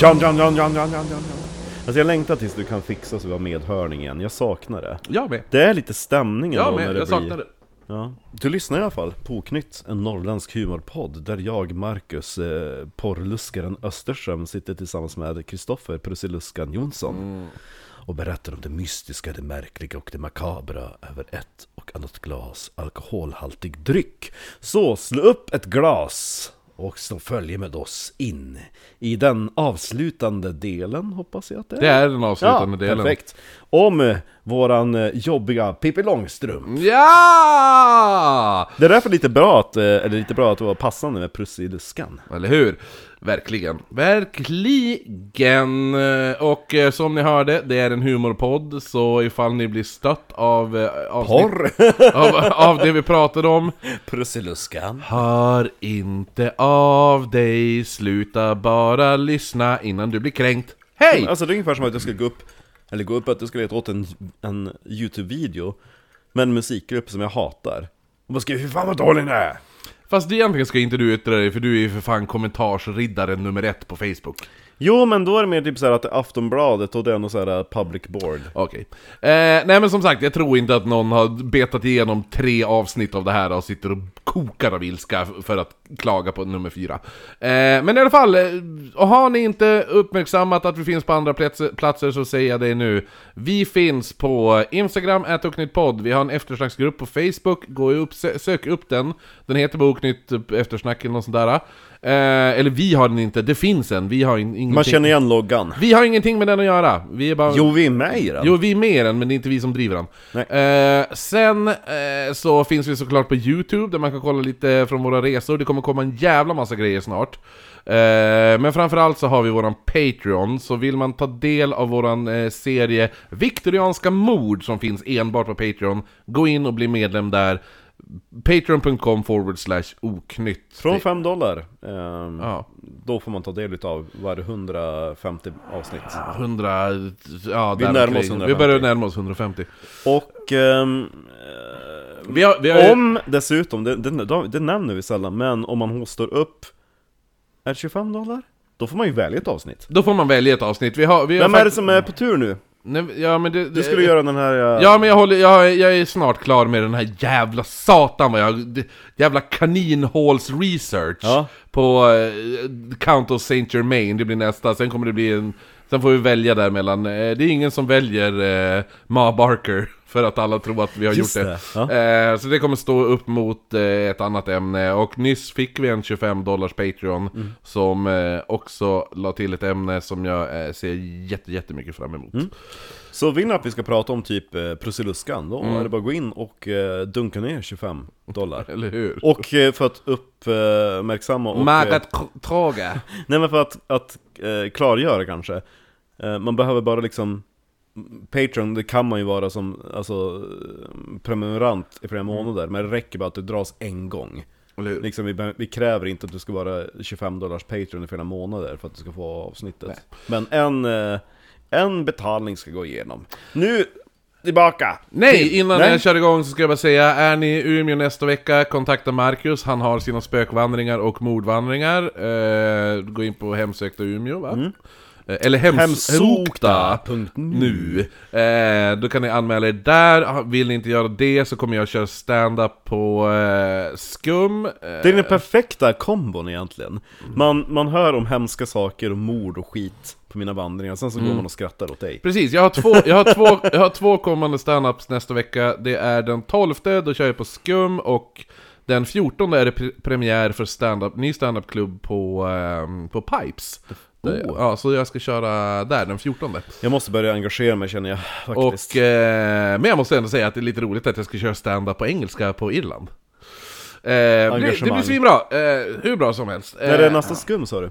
John, John, John, John, John, John, John. Alltså jag längtar tills du kan fixa så vi har medhörning igen, jag saknar det. Jag med. Det är lite stämningen Jag då när med. det Jag blir... saknar det. Ja. Du lyssnar i alla fall på Oknytt, en norrländsk humorpodd där jag, Marcus, eh, porrluskaren Österström sitter tillsammans med Kristoffer Prussiluskan Jonsson och berättar om det mystiska, det märkliga och det makabra över ett och annat glas alkoholhaltig dryck. Så slå upp ett glas och så följer med oss in i den avslutande delen, hoppas jag att det är. Det är den avslutande delen. Perfekt. Om eh, våran eh, jobbiga Pippi Långstrump. Ja! Det är därför lite bra att, eh, eller lite bra att det var passande med Prussiluskan. Eller hur? Verkligen. Verkligen! Och eh, som ni hörde, det är en humorpodd, så ifall ni blir stött av eh, avsnitt, av, av det vi pratade om, Prussiluskan. hör inte av dig, sluta bara lyssna innan du blir kränkt. Hej! Alltså det är ungefär som att jag skulle gå upp, eller gå upp att jag skulle leta åt en, en YouTube-video med en musikgrupp som jag hatar. Och bara skriva 'Fy fan vad dålig den är!' Fast egentligen ska inte du yttra dig, för du är ju för fan kommentarsriddaren nummer ett på Facebook. Jo men då är det mer typ såhär att det är Aftonbladet och det är någon sån här eh, public board. Okej. Eh, nej men som sagt, jag tror inte att någon har betat igenom tre avsnitt av det här och sitter och kokar av ilska f- för att klaga på nummer fyra. Eh, men i alla fall, eh, och har ni inte uppmärksammat att vi finns på andra platser, platser så säger jag det nu. Vi finns på Instagram, @oknyttpodd. Vi har en eftersnacksgrupp på Facebook, gå upp, sö- sök upp den. Den heter bara Oknytt eh, eftersnack eller något sånt där. Eh, eller vi har den inte, det finns en. Vi har in, ingenting. Man känner igen loggan. Vi har ingenting med den att göra. Vi är bara... Jo vi är med i den. Jo, vi är med i den, men det är inte vi som driver den. Eh, sen eh, så finns vi såklart på YouTube, där man kan kolla lite från våra resor. Det kommer komma en jävla massa grejer snart. Eh, men framförallt så har vi våran Patreon, så vill man ta del av våran eh, serie Viktorianska mord som finns enbart på Patreon, gå in och bli medlem där. Patreon.com forward slash oknytt. Från 5 dollar. ehm, Ja. Då får man ta del av varje 150 avsnitt. 100... Ja, Vi där närmar omkring. oss 150. Vi börjar närma oss 150. Och... ehm, Vi har, vi har ju- Om dessutom, det, det, det nämner vi sällan, men om man hostar upp Är det 25 dollar? Då får man ju välja ett avsnitt Då får man välja ett avsnitt. Vi har, vi har Vem är det fakt- som är på tur nu? Nej, ja, men det, Du skulle göra den här... eh, Ja men jag håller, jag, jag är snart klar med den här jävla satan vad jag... det- Jävla kaninhåls research Ja. på eh, Count of Saint Germain, det blir nästa, sen kommer det bli en... Sen får vi välja där mellan, eh, det är ingen som väljer eh, Ma Barker för att alla tror att vi har Just gjort det. det, ja. Eh, så det kommer stå upp mot eh, ett annat ämne, och nyss fick vi en 25 dollars Patreon Mm. som eh, också la till ett ämne som jag eh, ser jätte, jättemycket fram emot. Mm. Så vill ni att vi ska prata om typ eh, Prussiluskan, då Mm. är det bara att gå in och eh, dunka ner 25 dollar Eller hur? Och eh, för att uppmärksamma och... eh, Margaret Troga. Nej men för att, att eh, klargöra kanske eh, Man behöver bara liksom Patreon, det kan man ju vara som alltså, eh, prenumerant i Mm. flera månader Men det räcker bara att du dras en gång Eller hur? liksom, vi, be- vi kräver inte att du ska vara 25 dollars Patreon i flera månader för att du ska få avsnittet Men en, eh, en betalning ska gå igenom Nu, tillbaka! Nej, Till- innan Nej. jag kör igång så ska jag bara säga, är ni i Umeå nästa vecka, kontakta Marcus. Han har sina spökvandringar och mordvandringar. Eh, gå in på Hemsökta Umeå, va? Eh, Eller hems Mm. Hemsokta. hemsokta. nu. Eh, då kan ni anmäla er där. Vill ni inte göra det så kommer jag köra stand-up på eh, Skum. Eh, Mm. Det är den perfekta kombon egentligen man, man hör om hemska saker och mord och skit på mina vandringar, sen så Mm. går man och skrattar åt dig Precis, jag har två, jag har två, jag har två kommande standups nästa vecka. Det är den 12, då kör jag på Skum och den 14 är det pre- premiär för stand-up, ny standup-klubb på, ehm, på Pipes. Oh. Ja, så jag ska köra där den 14. Jag måste börja engagera mig känner jag faktiskt Och, eh, men jag måste ändå säga att det är lite roligt att jag ska köra stand-up på engelska på Irland. Eh, det, det blir Engagemang. svinbra, eh, hur bra som helst. När är Eh, nästa skum sa du?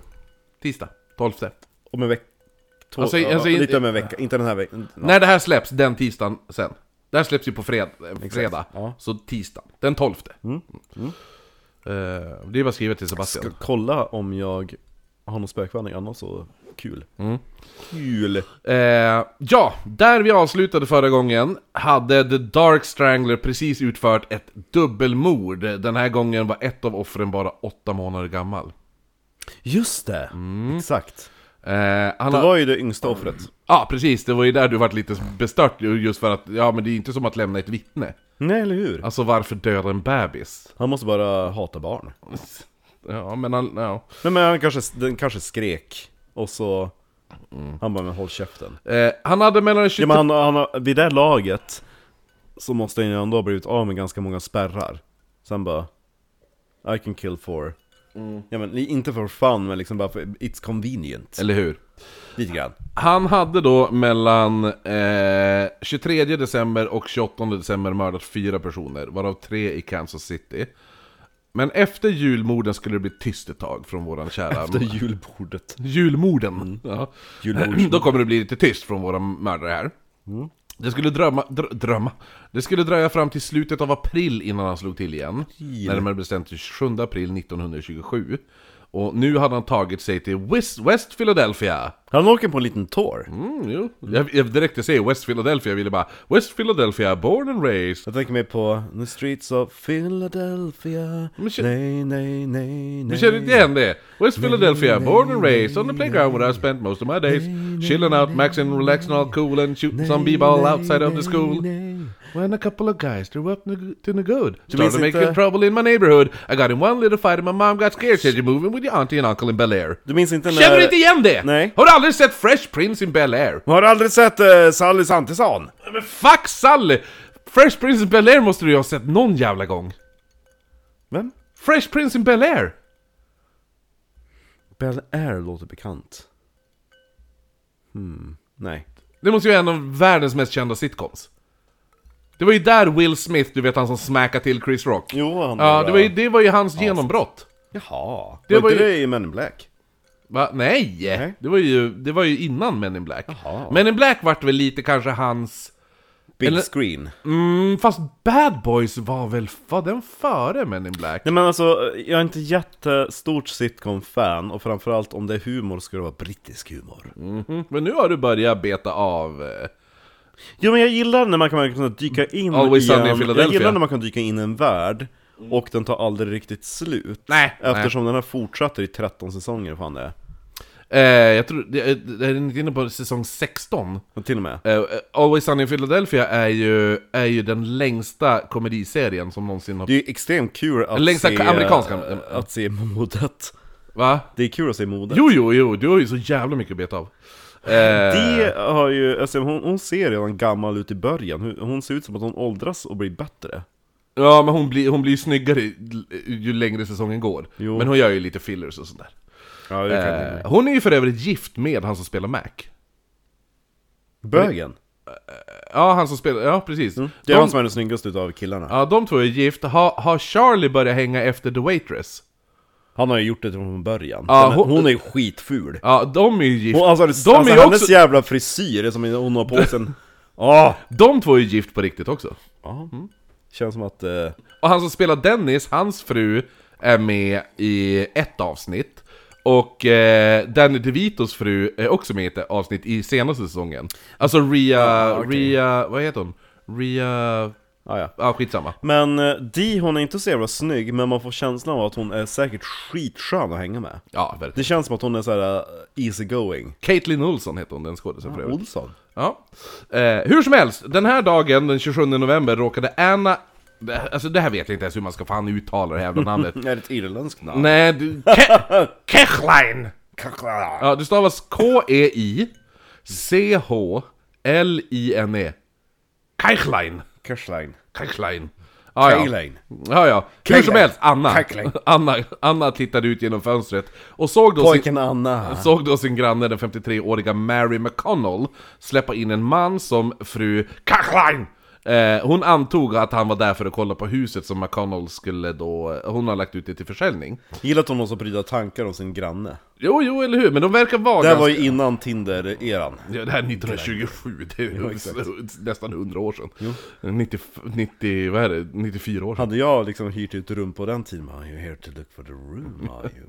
Tisdag, 12. Om en vecka? Två, Alltså, ja, alltså, lite om en vecka, inte den här veckan När det här släpps, den tisdagen sen. Det här släpps ju på fred, eh, fredag, ja. så tisdag, den 12. Mm, Eh, det är bara att skriva till Ska Sebastian. kolla om jag har någon spökvandring annars så kul Mm. Kul! Eh, ja, där vi avslutade förra gången hade The Dark Strangler precis utfört ett dubbelmord. Den här gången var ett av offren bara åtta månader gammal. Mm. Just det! Exakt! Eh, han Det har- var ju det yngsta offret. Ja, precis. Det var ju där du vart lite bestört, ju, just för att ja, men det är inte som att lämna ett vittne. Nej, eller hur? Alltså varför döda en bebis? Han måste bara hata barn. Ja, men han, ja. Nej, men han kanske, den kanske skrek, och så... Mm. Han bara, men håll käften. Eh, han hade mellan 20... Ja, men han, han, har- vid det här laget så måste han ju ändå ha blivit av med ganska många spärrar. Sen bara, I can kill four. Mm. Ja men inte för fun, men liksom bara för it's convenient. Eller hur? Lite grann. Han hade då mellan eh, 23 december och 28 december mördat fyra personer, varav tre i Kansas City. Men efter julmorden skulle det bli tyst ett tag från våran kära... Efter julbordet. Julmorden! Ja. Julbordsmord. Då kommer det bli lite tyst från våra mördare här. Det skulle drömma, dr, drömma. Det skulle dröja fram till slutet av april innan han slog till igen. Närmare bestämt till 27 april 1927. Och nu hade han tagit sig till West, West Philadelphia. Han åker på en liten tour. Mm, jo. Jag, jag direkt jag säger West Philadelphia, jag ville bara West Philadelphia, born and raised. Jag tänker mig på The Streets of Philadelphia. Men kä- nej, nej, nej, Du nej. känner inte igen det? West Philadelphia, born and raised, on the playground where I spent most of my days. Chilling out, maxing, relaxing, all cool and shooting some b-ball outside of the school. When a couple of guys threw up n- to the good Started minns making inte- trouble in my neighborhood I got in one little fight and my mom got scared Said you're moving with your auntie and uncle in Bel Air Du minns inte när... Känner du inte igen det? Nej. Har du aldrig sett Fresh Prince in Bel Air? Har du aldrig sett eh, Sally Santesson? Men fuck Sally! Fresh Prince in Bel Air måste du ju ha sett någon jävla gång Vem? Fresh Prince in Bel Air! Bel Air låter bekant. Hmm, nej. Det måste ju vara en av världens mest kända sitcoms Det var ju där Will Smith, du vet han som smackade till Chris Rock Jo, han Ja, det var ju, det var ju hans genombrott Jaha. Det Det var var inte ju- det i Men in Black? Va? Nej! Nej. Det, var ju, det var ju innan Men in Black. Jaha. Men in Black vart väl lite kanske hans... Big Eller- Screen. Mm, fast Bad Boys var väl... Var den före Men in Black? Nej men alltså, jag är inte jättestort sitcom-fan och framförallt om det är humor ska det vara brittisk humor. Mhm, Men nu har du börjat beta av... eh, Jo men jag gillar när man kan kunna dyka in Always i Sunny in en, Jag Philadelphia. gillar när man kan dyka in i en värld och den tar aldrig riktigt slut. Nej, Eftersom den har fortsatt i 13 säsonger fan det är. Eh, jag tror... det- eh, det- Är den inte inne på säsong 16? Och till och med. Eh, eh, Always Sunny in Philadelphia är ju, är ju den längsta komediserien som någonsin har... Det är ju extremt kul att Längsta se... amerikanska- eh, Att se modet. Va? Det är kul att se modet. Jo, jo, jo, du har ju så jävla mycket att beta av. Eh, Det har ju, alltså hon, hon ser redan gammal ut i början, Hon- hon ser ut som att hon åldras och blir bättre Ja, men hon blir, hon blir ju snyggare ju- ju längre säsongen går. Jo. Men hon gör ju lite fillers och sådär. Ja det Eh, hon är ju för övrigt gift med han som spelar Mac. Bögen? Ja, han som spelar... Ja, precis. Mm. Det är de, han som är den snyggaste utav killarna ja, de två är gift. Har har Charlie börjat hänga efter The Waitress? Han har ju gjort det från början Ja, Den- hon- hon, är ju skitful Ja, de är ju gift. hon, alltså, de, de alltså, är är ju hennes också, jävla frisyr som hon har på sig en- Ah! de två är ju gift på riktigt också. Ja. Känns som att... Eh, Och han som spelar Dennis, hans fru, är med i ett avsnitt. Och eh, Danny DeVitos fru är också med i ett avsnitt i senaste säsongen. Alltså Ria... Ria... Vad heter hon? Ria... ah, ja. Ja, ah, skitsamma. Men eh, Dee hon är inte så jävla snygg, men man får känslan av att hon är säkert skitskön att hänga med Ja, Det verkligen. känns som att hon är såhär uh, easy going Caitlin Olsson heter hon, den skådisen för övrigt. Olsson? Ja. Eh, hur som helst, den här dagen, den 27 november, råkade Anna... Det- Alltså det här vet jag inte ens hur man ska fan uttala det här jävla namnet. Är det ett irländskt namn? Nej, du... Ke- Kechlein! Ja, det stavas E K-E-I-C-H-L-I-N-E. Kechlein. Kerslein Kechlein. Ah, Ja, ja. Kechlein. Ja, ja. Hur som Kechlein. helst, Anna. Kechlein. Anna. Anna tittade ut genom fönstret och såg då sin, Pojken Anna såg då sin granne, den 53-åriga Mary McConnell, släppa in en man som fru Kachlein. Eh, hon antog att han var där för att kolla på huset som McConnell skulle då... Hon har lagt ut det till försäljning. Gillar att hon har så pryda tankar om sin granne Jo, jo, eller hur? Men de verkar vara Det här ganska... var ju innan Tinder-eran Ja, det här är 1927, det är nästan 100 år sedan. 90, 90, vad är det, 94 år sedan. Hade jag liksom hyrt ut rum på den tiden, are you here to look for the room are you?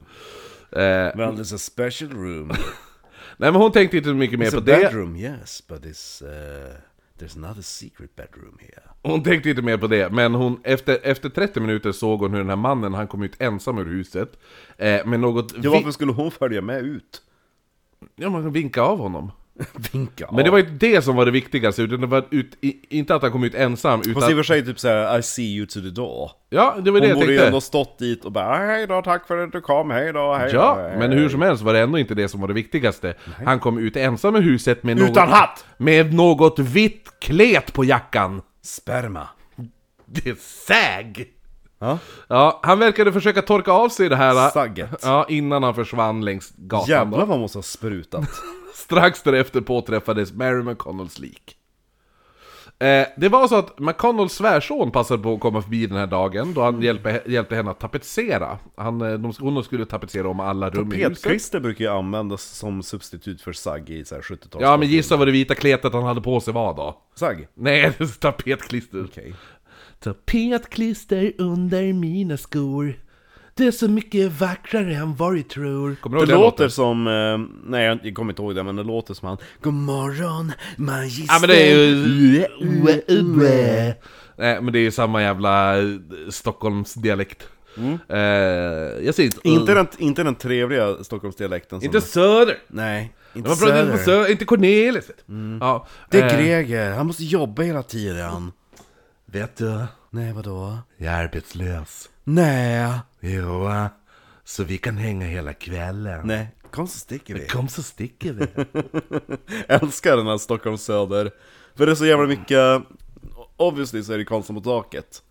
Eh, Well there's a special room, nej men hon tänkte inte så mycket mer it's på a det. bedroom yes, but it's, uh, there's another secret bedroom here Hon tänkte inte mer på det, men hon, efter, efter 30 minuter såg hon hur den här mannen, han kom ut ensam ur huset. Eh, med något... Ja vi- varför skulle hon följa med ut? Ja, man vinka av honom. Vinka Men det var inte det som var det viktigaste, utan det var ut, i, inte att han kom ut ensam, Fast i och utan... för sig typ såhär, I see you to the door Ja, det var det Hon jag borde ju ändå tänkte. stått dit och bara hej då, tack för att du kom, hej då, hej då, Ja, hej men då." hur som helst var det ändå inte det som var det viktigaste. Han kom ut ensam i huset med Utan något, hatt! Med något vitt klet på jackan. Sperma Det är säg! Ja, Ja, han verkade försöka torka av sig det här... Sagget. Ja, innan han försvann längs gatan. då. jävlar vad måste ha sprutat Strax därefter påträffades Mary McConnells lik. Eh, det var så att McConnells svärson passade på att komma förbi den här dagen då han hjälpte, hjälpte henne att tapetsera. Han, eh, de, hon skulle tapetsera om alla rum i huset. Petklister brukar ju användas som substitut för sagg i så här 70-tals Ja men gissa vad det vita kletet han hade på sig var då? Sagg? Nej, det är tapetklister. Okej Tapetklister under mina skor. Det är så mycket vackrare än vad du tror. Kommer du Det ihåg den låter låten? som, eh, nej jag jag kommer inte ihåg det, men det låter som han God morgon magister Ja men det är ju... Nej men det är ju samma jävla eh, Stockholmsdialekt. Eh, jag säger inte... Mm. Inte den, inte den trevliga Stockholmsdialekten som... Mm. Inte söder! Nej, inte Man pratar inte på söder. Mm. söder, inte Cornelis. Ja, Det eh, är Greger, han måste jobba hela tiden Vet du, Nej vadå? jag är arbetslös. Nej Jo, så vi kan hänga hela kvällen. Nej, kom så sticker vi Kom så sticker vi. älskar den här Stockholm Söder För det är så jävla mycket Obviously så är det Karlsson på taket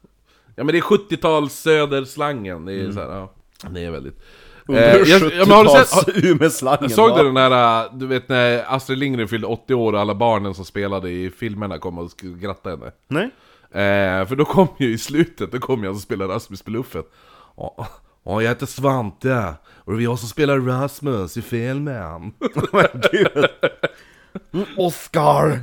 Ja men det är 70-tals söderslangen, det är så här, ja. Det är väldigt... Eh, Mm. Under jag, ja, men har du sett, har, 70-tals Umeåslangen såg va? du den där, äh, du vet när Astrid Lindgren fyllde 80 år och alla barnen som spelade i filmerna kom och skulle gratta henne? Nej? Eh, för då kom ju i slutet, då kom jag som spelade Rasmus på luffen. Ja, ja, jag heter Svante, och det är jag som spelar Rasmus i filmen. Men gud Mm, Oscar!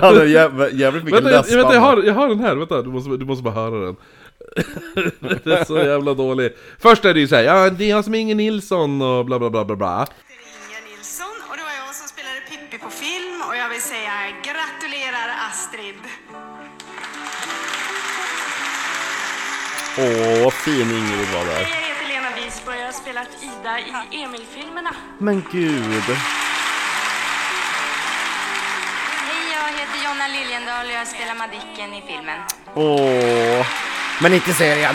Han är jävla, jävligt mycket Vänta, jag, läspande vänta jag, har, jag har den här, vänta, du måste, du måste bara höra den. det är så jävla dålig. Först är det ju såhär, ja det är jag som är Inge Nilsson och bla bla bla bla bla. Inger Nilsson och det var jag som spelade Pippi på film och jag vill säga gratulerar Astrid. Åh, vad fin Ingrid var Jag där heter Lena Wiesberg och jag har spelat Ida i Emil-filmerna. Men gud Hej, jag heter Jonna Liljendahl och jag spelar Madicken i filmen. Åh Men inte serien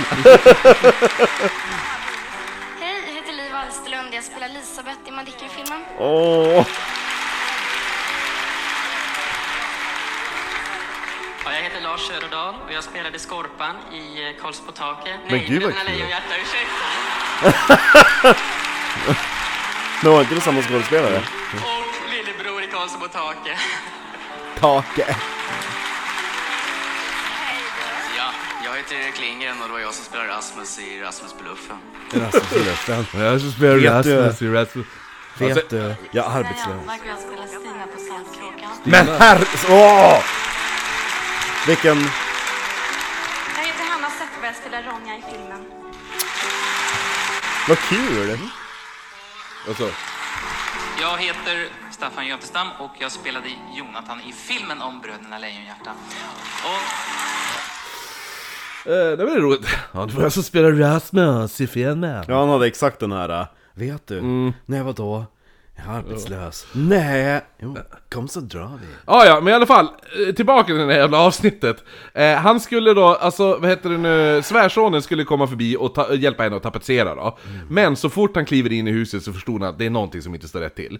Hej, jag heter Liv Alsterlund. Jag spelar Elisabeth i Madicken-filmen. Åh Ja, jag heter Lars Söderdahl och jag spelade Skorpan i eh, Karls på taket. Nej, gud, vad Bröderna kul. Lejonhjärta, ursäkta. Men var inte det samma skådespelare? Och Lillebror i Karls på taket. Take Ja, jag heter Erik Lindgren och det var jag som spelade Rasmus i Rasmus Bluffen. Jag som spelar Vet du- Rasmus i Rasmus. Alltså, Vet du, jag är arbetslös och jag spelar Stina på Sandkråkan. Men herre... Åh! Vilken... Jag heter Hanna Zetterberg och jag spelar Ronja i filmen. Vad kul! alltså, Jag heter Staffan Götestam och jag spelade Jonathan i filmen om Bröderna Lejonhjärta. Och eh, det var det roligt. Ja, det var jag som spelar Rasmus i filmen. Ja, han hade exakt den här... äh, Vet du? Mm. Nej, vadå? Jag är arbetslös. Nej! Jo, kom så drar vi. Ja, ja, men i alla fall, eh, tillbaka till det här jävla avsnittet. Eh, han skulle då, alltså vad heter det nu, svärsonen skulle komma förbi och ta- hjälpa henne att tapetsera då. Men så fort han kliver in i huset så förstod han att det är någonting som inte står rätt till.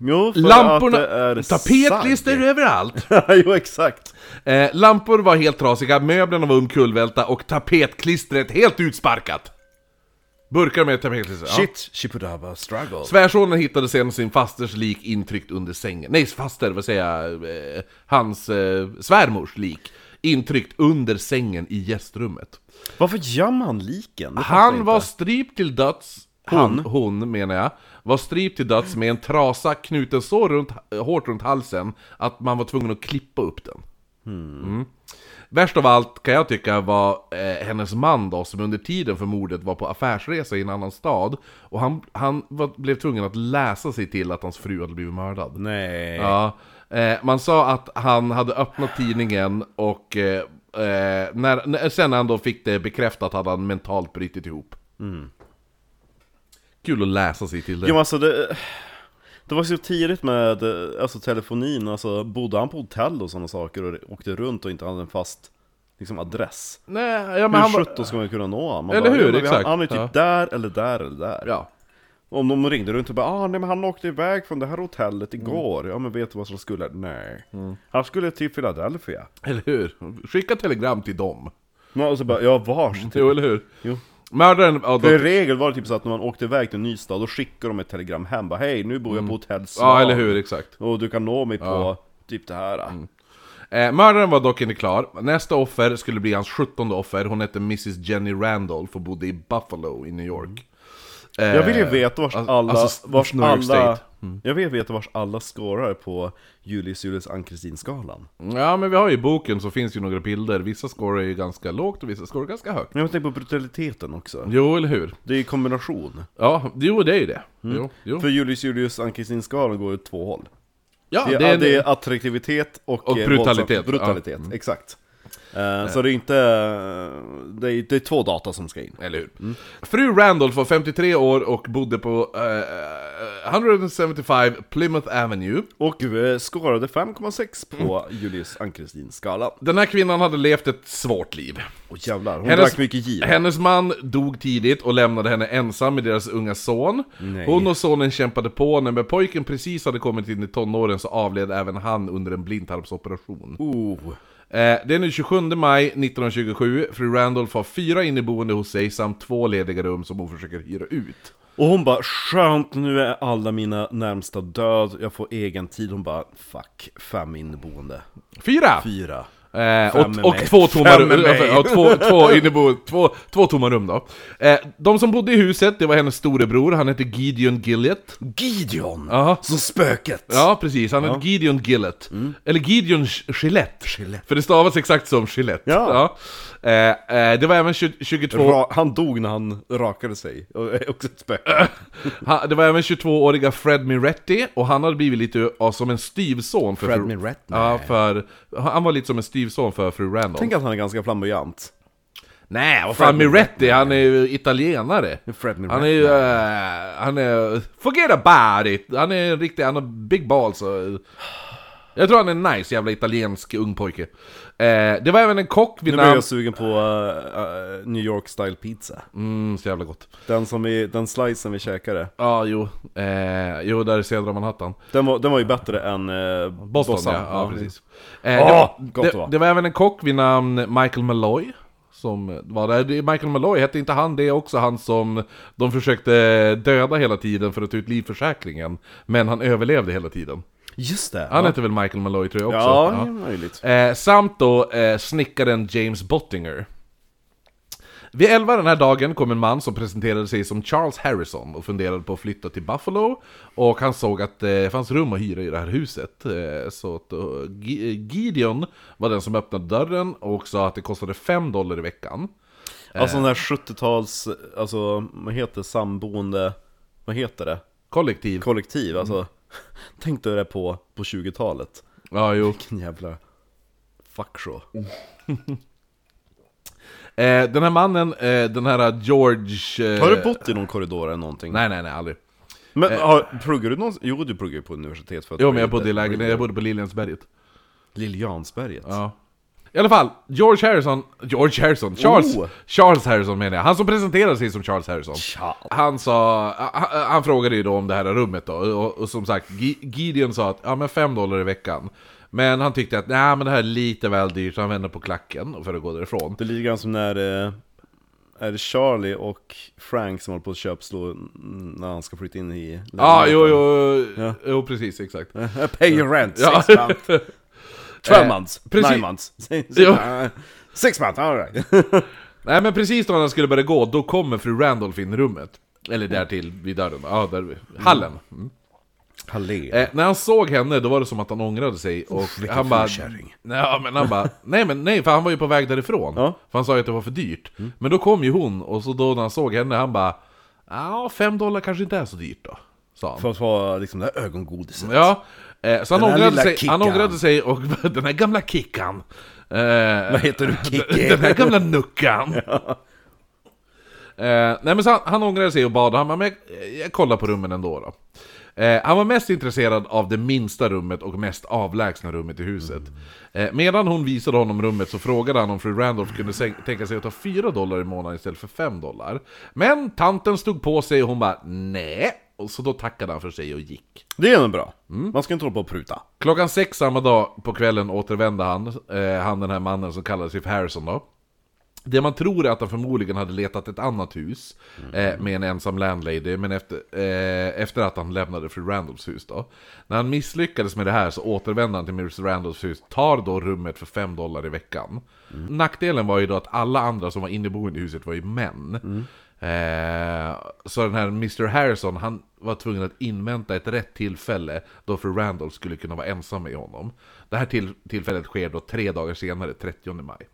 Jo, för Lamporna, att det är tapetklister överallt! sagg. jo, exakt. Eh, lampor var helt trasiga, möblerna var omkullvälta och tapetklistret helt utsparkat! Burkar med tapetklister. ja. Shit, Chipudaba struggle. Svärsonen hittade sen sin fasters lik intryckt under sängen. Nej, faster, vad säger jag? Eh, hans eh, svärmors lik. Intryckt under sängen i gästrummet. Varför gömmer han liken? Det fattar Han jag var inte. strypt till döds. Han, hon menar jag, var strypt till döds med en trasa knuten så runt, hårt runt halsen att man var tvungen att klippa upp den. Hmm. Mm. Värst av allt kan jag tycka var eh, hennes man då, som under tiden för mordet var på affärsresa i en annan stad. Och han, han var, blev tvungen att läsa sig till att hans fru hade blivit mördad. Nej. Ja, eh, man sa att han hade öppnat tidningen och eh, eh, när, när, sen när han då fick det bekräftat hade han mentalt Mm. brutit ihop. Kul att läsa sig till det. Jo, men alltså det... Det var så tidigt med eh, alltså, telefonin, alltså bodde han på hotell och sådana saker och åkte runt och inte hade en fast liksom, adress? Nej, ja, men han Hur var- sjutton ska man kunna nå honom? Man Eller hur, ja, men vi har- exakt, Han är typ ja. där eller där eller där. Ja. Om de ringde runt och bara ah, nej men han åkte iväg från det här hotellet Mm. igår, ja men vet du vad som skulle? Nej. Han skulle till Philadelphia. Eller hur? Skicka telegram till dem. Men och så bara, ja vars? Typ. Jo, eller hur? Jo. Mördaren... Ja, För i då, regel var det typ så att när man åkte iväg till en ny stad, då skickade de ett telegram hem, bara hej nu bor jag på hotell Mm. ja eller hur? Exakt. Och du kan nå mig på typ det här. Eh, mördaren var dock inte klar. Nästa offer skulle bli hans sjuttonde offer. Hon hette Mrs Jenny Randolph och bodde i Buffalo i New York. Eh, Jag vill ju veta vars al- alla, alltså, vars New York alla, State. Mm. jag vill veta vars alla skårar på Julius Julius Ann-Kristin-skalan. Ja, men vi har ju i boken så finns ju några bilder. Vissa scorar är ju ganska lågt och vissa scorar ganska högt. Men jag tänker på brutaliteten också. Jo, eller hur? Det är ju kombination. Ja, jo det är ju det. Jo, jo. Mm. För Julius Julius Ann-Kristin-skalan går åt två håll. ja, Det är, det är, attraktivitet och, Och eh, brutalitet, Mm. våldsam- brutalitet, exakt. Eh, Så det är inte, eh, det är, det är två data som ska in. Eller hur? Mm. Fru Randolph var 53 år och bodde på eh, 175 Plymouth Avenue. Och eh, skårade 5,6 på Mm. Julius Ann-Kristin-skalan. Den här kvinnan hade levt ett svårt liv. Och jävlar, hon Hennes- drack mycket gin. Hennes man dog tidigt och lämnade henne ensam med deras unga son. Nej. Hon och sonen kämpade på, när men pojken precis hade kommit in i tonåren så avled även han under en blindtarmsoperation. Oh. Eh, Det är nu 27 maj 1927, fru Randolph har fyra inneboende hos sig samt två lediga rum som hon försöker hyra ut. Och hon bara 'Skönt, nu är alla mina närmsta död, jag får egen tid' Hon bara 'Fuck, fem inneboende' Fyra! Fyra Eh, Fem med och, och mig. två tomma Fem rum, med mig. ja, två, två, innebo, två, två tomma rum då. Eh, de som bodde i huset, det var hennes storebror, han hette Gideon Gillett. Gideon! Aha. Som spöket! Ja, precis. Han hette Gideon Gillett. Eller Gideon Sch- Gillette. Mm. Gillette. För det stavas exakt som Gillette. Ja. Ja. Eh, eh, det var även 20, 22... Ra- han dog när han rakade sig, och är också ett Eh. spöke Ha, det var även 22-åriga Fred Miretti, och han hade blivit lite ja, som en styvson för Fred fru... Miretti? Ja, för... Han var lite som en styvson för fru Randolph. Tänk att han är ganska flamboyant Nej, vad fan Miretti, han är ju italienare. Fred Miretti. Han är ju... eh, han är... Forget about it! Han är en riktig... Han har big balls och... Jag tror han är en nice jävla italiensk ung pojke. Eh, det var även en kock vid Nu blir namn... jag sugen på eh, eh, New York style pizza Mm, så jävla gott. Den som vi, den slicen vi käkade Ja, jo. Eh, jo, där i södra Manhattan. Den var, den var ju bättre än eh, Boston, Bossan. ja. ja, precis. Eh, Åh, det, var, Ah, gott det det, var. det var även en kock vid namn Michael Malloy. Som var där. Det- Michael Malloy, hette inte han det är också han som de försökte döda hela tiden för att ta ut livförsäkringen? Men han överlevde hela tiden. Just det! Han ja. hette väl Michael Malloy tror jag också? Ja, Ja. det är möjligt Eh, samt då eh, snickaren James Bottinger. Vid 11 den här dagen kom en man som presenterade sig som Charles Harrison och funderade på att flytta till Buffalo. Och han såg att eh, det fanns rum att hyra i det här huset. Eh, så att, eh, Gi- eh, Gideon var den som öppnade dörren och sa att det kostade 5 dollar i veckan. Eh. Alltså den här 70-tals, alltså vad heter det? samboende, vad heter det? Kollektiv. Mm. Kollektiv, alltså Tänk dig det på, på 20-talet ja, jo. Vilken jävla fuckshow Eh, den här mannen, eh, den här George... Eh, Har du bott i någon korridor eller någonting? Nej, nej, nej, aldrig. Men har, pluggar du någonsin? Jo du pluggar ju på universitet för att Jo, men jag bodde i lägenhet, jag bodde på Liljensberget. Liljansberget Ja. I alla fall, George Harrison, George Harrison, Charles, Oh. Charles Harrison menar jag. Han som presenterade sig som Charles Harrison. Charles. Han sa, han, han frågade ju då om det här rummet då, och, och som sagt, Gi- Gideon sa att ja men 5 dollar i veckan. Men han tyckte att nej men det här är lite väl dyrt, så han vände på klacken för att gå därifrån. Det är lite grann som när eh, är det Charlie och Frank som håller på att köpslå mm, när han ska flytta in i lägenheten? Ja, Ah, jo, jo, jo, jo, precis, exakt. Pay your rent, Ja. six months, twelve Eh, months, precis. nine months, six, Jo. six months, alright Nej men precis då när han skulle börja gå, då kommer fru Randolph in i rummet. Eller där till vid dörren, ja, där, vid- hallen. Hallé. Eh, när han såg henne, då var det som att han ångrade sig och vilken han bara... fullkärring. Nej, men han bara... Nej, men nej, för han var ju på väg därifrån. Ja. Mm. För han sa ju att det var för dyrt. Men då kom ju hon, och så då när han såg henne, han bara... Ja, fem dollar kanske inte är så dyrt då, sa han. För att vara liksom det här ögongodiset. Ja, eh, så han Den här ångrade, lilla sig, han kickan. ångrade sig och den här gamla kickan. Eh, Vad heter du, Kicki? Den här gamla nuckan. Eh, nej men så han, han ångrade sig och bad, han bara, men jag, jag kollar på rummen ändå då. Eh, han var mest intresserad av det minsta rummet och mest avlägsna rummet i huset. Eh, medan hon visade honom rummet så frågade han om fru Randolph kunde sän- tänka sig att ta 4 dollar i månaden istället för 5 dollar. Men tanten stod på sig och hon bara nej. Och så då tackade han för sig och gick. Det är nog bra. Mm. Man ska inte hålla på och pruta. Klockan sex samma dag på kvällen återvände han, eh, han den här mannen som kallades If Harrison då. Det man tror är att han förmodligen hade letat ett annat hus eh, med en ensam landlady, men efter, eh, efter att han lämnade fru Randolphs hus då. När han misslyckades med det här så återvände han till Mrs Randolphs hus, tar då rummet för 5 dollar i veckan. Nackdelen var ju då att alla andra som var inneboende i huset var ju män. Eh, så den här Mr Harrison, han var tvungen att invänta ett rätt tillfälle då fru Randolph skulle kunna vara ensam med honom. Det här till, tillfället sker då tre dagar senare, 30 maj.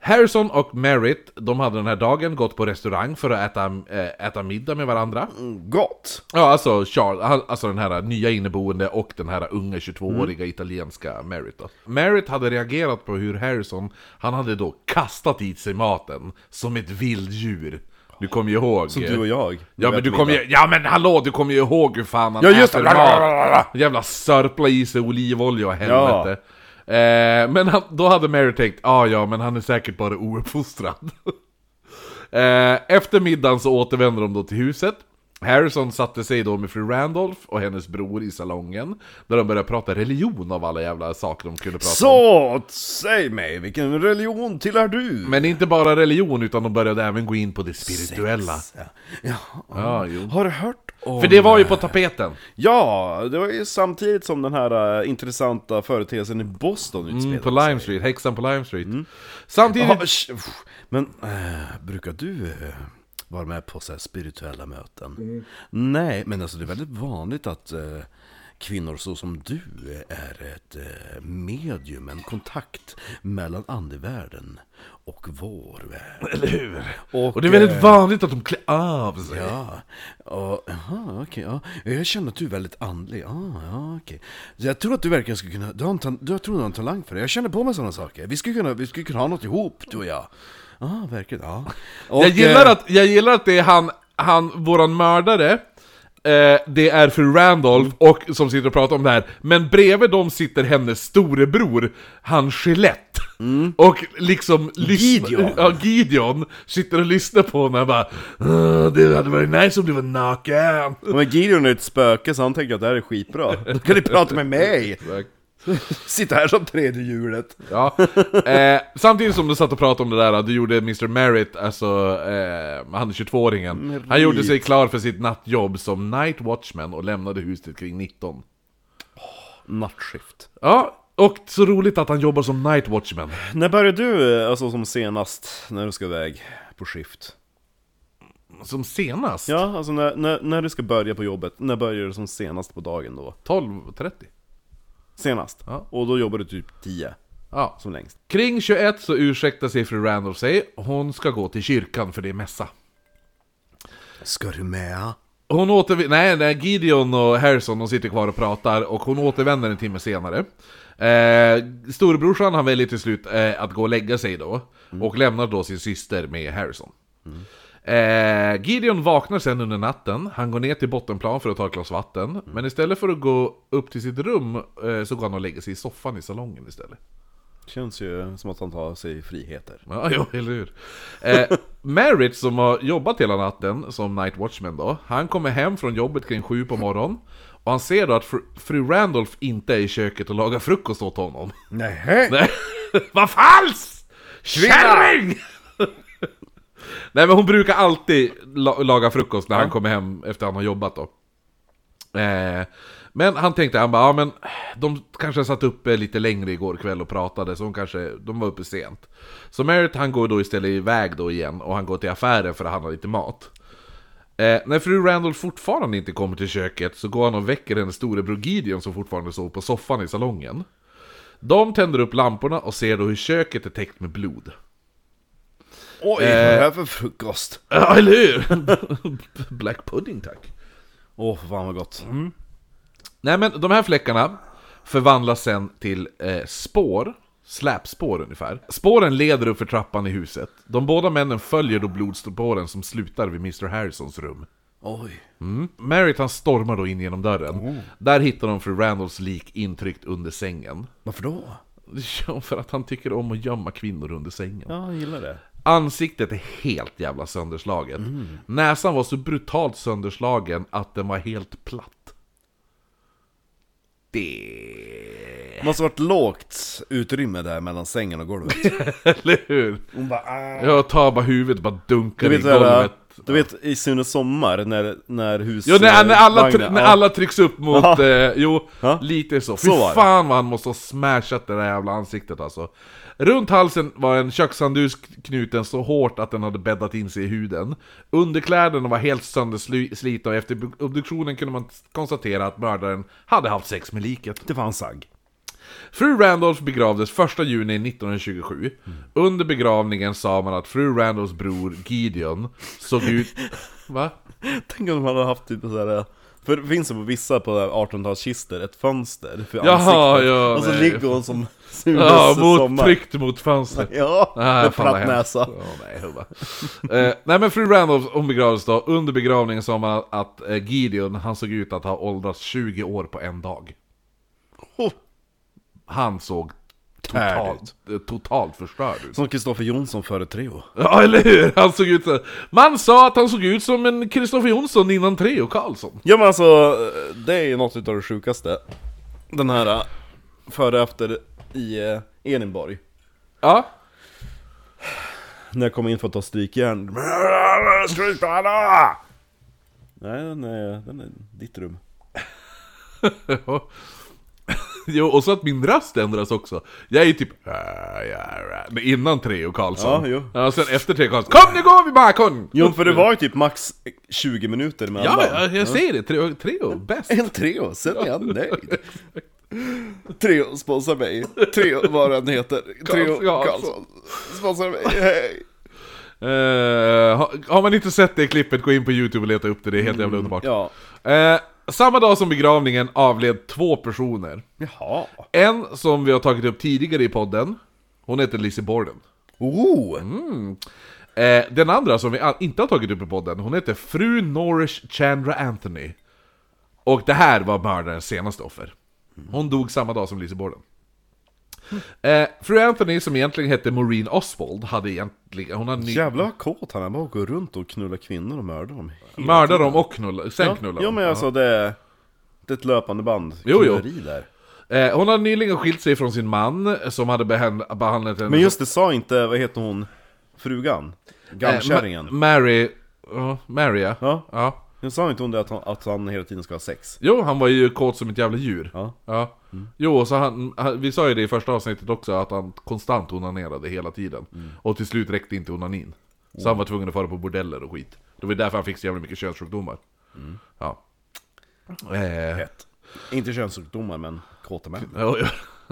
Harrison och Merritt, de hade den här dagen gått på restaurang för att äta, eh, äta middag med varandra. Mm. Gott! Ja, alltså, Charles, han- alltså den här nya inneboende och den här unga 22-åriga Mm. italienska Merritt då. Merritt hade reagerat på hur Harrison, han hade då kastat i sig maten som ett vilddjur. Du kommer ju ihåg... Som du och jag. Ja men du kommer ju, ja men hallå du kommer ju ihåg hur fan han Ja, just äter det. mat! Jävla sörpla i sig olivolja och helvete. Eh, men han, då hade Mary tänkt, ah, ja men han är säkert bara ouppfostrad. eh, efter middagen så återvänder de då till huset. Harrison satte sig då med fru Randolph och hennes bror i salongen, där de började prata religion av alla jävla saker de kunde prata om. Så, säg mig, vilken religion tillhör du? Men inte bara religion, utan de började även gå in på det spirituella. Ja. Ja, jo. Har du hört om... För det var ju på tapeten. Ja, det var ju samtidigt som den här eh, intressanta företeelsen i Boston Mm, utspelade på Lime Street, häxan på Lime Street. Samtidigt... Mm. Jaha, sh- uff. Men eh, brukar du eh, vara med på så här spirituella möten? Nej, men alltså det är väldigt vanligt att eh, kvinnor så som du eh, är ett eh, medium, en kontakt mellan andevärlden och vår värld. Eller hur? och det är eh, väldigt vanligt att de klär av Alltså. sig. Ja, och, aha, okej, ja. Jag känner att du är väldigt andlig. Ah, ja, okej. Så Jag tror att du verkligen skulle kunna, du har en, ta- du, jag tror du har en talang för det. Jag känner på mig sådana saker. Vi skulle kunna, vi skulle kunna ha något ihop, du och jag. Ja, ah, verkligen. Ja. Och, Jag, gillar eh, att, jag gillar att det är han, han våran mördare, eh, det är fru Randolph, Mm. och, som sitter och pratar om det här. Men bredvid dem sitter hennes storebror, han Gillette. Och liksom lyssnar- Mm. Gideon. Ja, Gideon sitter och lyssnar på honom och bara "Ah, Det hade varit nice om du var naken. Men Gideon är ett spöke så han tänker att det här är skitbra. Då kan ni prata med mig! Sitta här som tredje hjulet. Ja. Eh, samtidigt som du satt och pratade om det där, du gjorde Mr. Merritt, alltså eh, han 22-åringen. Han gjorde sig klar för sitt nattjobb som night watchman och lämnade huset kring 19. Nattskift. Ja, och så roligt att han jobbar som night watchman. När började du, eh, alltså som senast, när du ska iväg på skift? Som senast? Ja, alltså när, när, när du ska börja på jobbet, när börjar du som senast på dagen då? 12.30. Senast? Ja. Och då jobbar du typ 10, Ja. som längst. Kring 21 så ursäktar sig fru Randolph sig, hon ska gå till kyrkan för det är mässa. Ska du med? Hon återv- nej, nej, Gideon och Harrison de sitter kvar och pratar och hon återvänder en timme senare. Eh, storebrorsan han väljer till slut eh, att gå och lägga sig då och lämnar då sin syster med Harrison. Eh, Gideon vaknar sen under natten, han går ner till bottenplan för att ta ett glas vatten, men istället för att gå upp till sitt rum eh, så går han och lägger sig i soffan i salongen istället. Känns ju som att han tar sig friheter. Ja, ja eller hur. Eh, Merritt som har jobbat hela natten som night watchman då, han kommer hem från jobbet kring sju på morgonen och han ser då att fru, fru Randolph inte är i köket och lagar frukost åt honom. Nej. Nej, Vad falskt! Kärring! Nej men hon brukar alltid la- laga frukost när han kommer hem efter han har jobbat då. Eh, men han tänkte, han bara, ja men de kanske satt uppe lite längre igår kväll och pratade, så de kanske, de var uppe sent. Så Merritt han går då istället iväg då igen, och han går till affären för att handla lite mat. Eh, när fru Randolph fortfarande inte kommer till köket så går han och väcker hennes storebror Gideon som fortfarande sov på soffan i salongen. De tänder upp lamporna och ser då hur köket är täckt med blod. Oj, Eh. vad är det här för frukost? Ja, eller hur? Black pudding tack. Åh, oh, fan vad gott. Mm. Nej men de här fläckarna förvandlas sen till eh, spår, släpspår ungefär. Spåren leder upp för trappan i huset. De båda männen följer då blodspåren som slutar vid Mr Harrisons rum. Åh, Oj. Merritt han stormar då in genom dörren. Där hittar de fru Randalls lik intryckt under sängen. Varför då? Ja, för att han tycker om att gömma kvinnor under sängen. Ja, han gillar det. Ansiktet är helt jävla sönderslaget. Mm. Näsan var så brutalt sönderslagen att den var helt platt. Det... Måste varit lågt utrymme där mellan sängen och golvet. Eller hur? Hon bara ah. Jag tar bara huvudet bara dunkar Du i vet, där, golvet. du vet i Sunes sommar när, när hus... Ja, när, när, alla, try- vagnen- när ja. alla trycks upp mot... Ja. Eh, jo, Ja. lite så. Fy Så var det. fan vad han måste ha smashat det där jävla ansiktet alltså. Runt halsen var en kökshandduk knuten så hårt att den hade bäddat in sig i huden. Underkläderna var helt sönderslitna och efter obduktionen kunde man konstatera att mördaren hade haft sex med liket. Det var en sagg. Fru Randolph begravdes 1 juni 1927. Mm. Under begravningen sa man att fru Randolphs bror Gideon såg ut... Va? Tänk om de hade haft typ såhär... För det finns ju på vissa på 1800-talskistor ett fönster för Jaha, ansiktet. ja, och så nej. ligger hon som Sunes Ja, mot, sommar. tryckt mot fönstret. Ja, Ah, med fan vad platt hemskt. näsa. Ja, nej, hubba. eh, nej men fru Randolph hon begravdes då, under begravningen sa man att, att eh, Gideon han såg ut att ha åldrats 20 år på en dag. Oh. Han såg Tärd totalt, eh, totalt förstörd ut. Som Kristoffer Jonsson före Treo. Ja eller hur! Han såg ut så... Man sa att han såg ut som en Kristoffer Jonsson innan Treo Karlsson. Ja men alltså, det är ju något utav det sjukaste. Den här eh, före och efter i eh, Edinborg. Ja. När jag kom in för att ta strykjärn. Nej, den är, den är ditt rum. Jo, och så att min röst ändras också. Jag är ju typ... äh, ja, ja, Men innan Treo Karlsson. Ja, jo. Ja, sen efter Treo Karlsson. Kom nu går vi Markon! Jo, för det var ju typ max 20 minuter mellan. Ja, ja, jag säger det. Treo, Treo bäst. En Treo, sen är jag nöjd. Treo sponsrar mig. Treo, vad den heter. Treo Karlsson. Karlsson. Sponsrar mig, hej. Eh, ha- har man inte sett det klippet, gå in på YouTube och leta upp det. Det är helt jävla underbart. Mm, Ja. Eh, samma dag som begravningen avled två personer. Jaha. En som vi har tagit upp tidigare i podden. Hon heter Lizzie Borden. Oh! Eh, den andra som vi a- inte har tagit upp i podden, hon heter Fru Norrish Chandra Anthony. Och det här var mördarens senaste offer. Hon dog samma dag som Lizzie Borden. Mm. Eh, fru Anthony, som egentligen hette Maureen Oswald, hade egentligen... Hon hade ny- Jävlar vad kåt han är, bara går runt och knullar kvinnor och mördar dem. mördat dem och knulla, sen Ja, knullade ja dem. men alltså det är, det är ett löpande band. Jo, jo. Knulleri Där. Eh, Hon hade nyligen skilt sig från sin man som hade behän- behandlat henne Men just det, sa inte, vad heter hon, frugan? Eh, Gammkärringen. Ma- Mary... ja, Mary ja. Ja. ja. Men sa inte hon det att han, att han hela tiden ska ha sex? Jo, han var ju kåt som ett jävla djur. Ja. Mm. Jo, och så han, han, vi sa ju det i första avsnittet också, att han konstant onanerade hela tiden. Mm. Och till slut räckte inte onanin. Så han var tvungen att fara på bordeller och skit. Det var därför han fick så jävla mycket könssjukdomar. Mm. Ja. Eh, Hett. Inte könssjukdomar men kåta män. Ja, ja.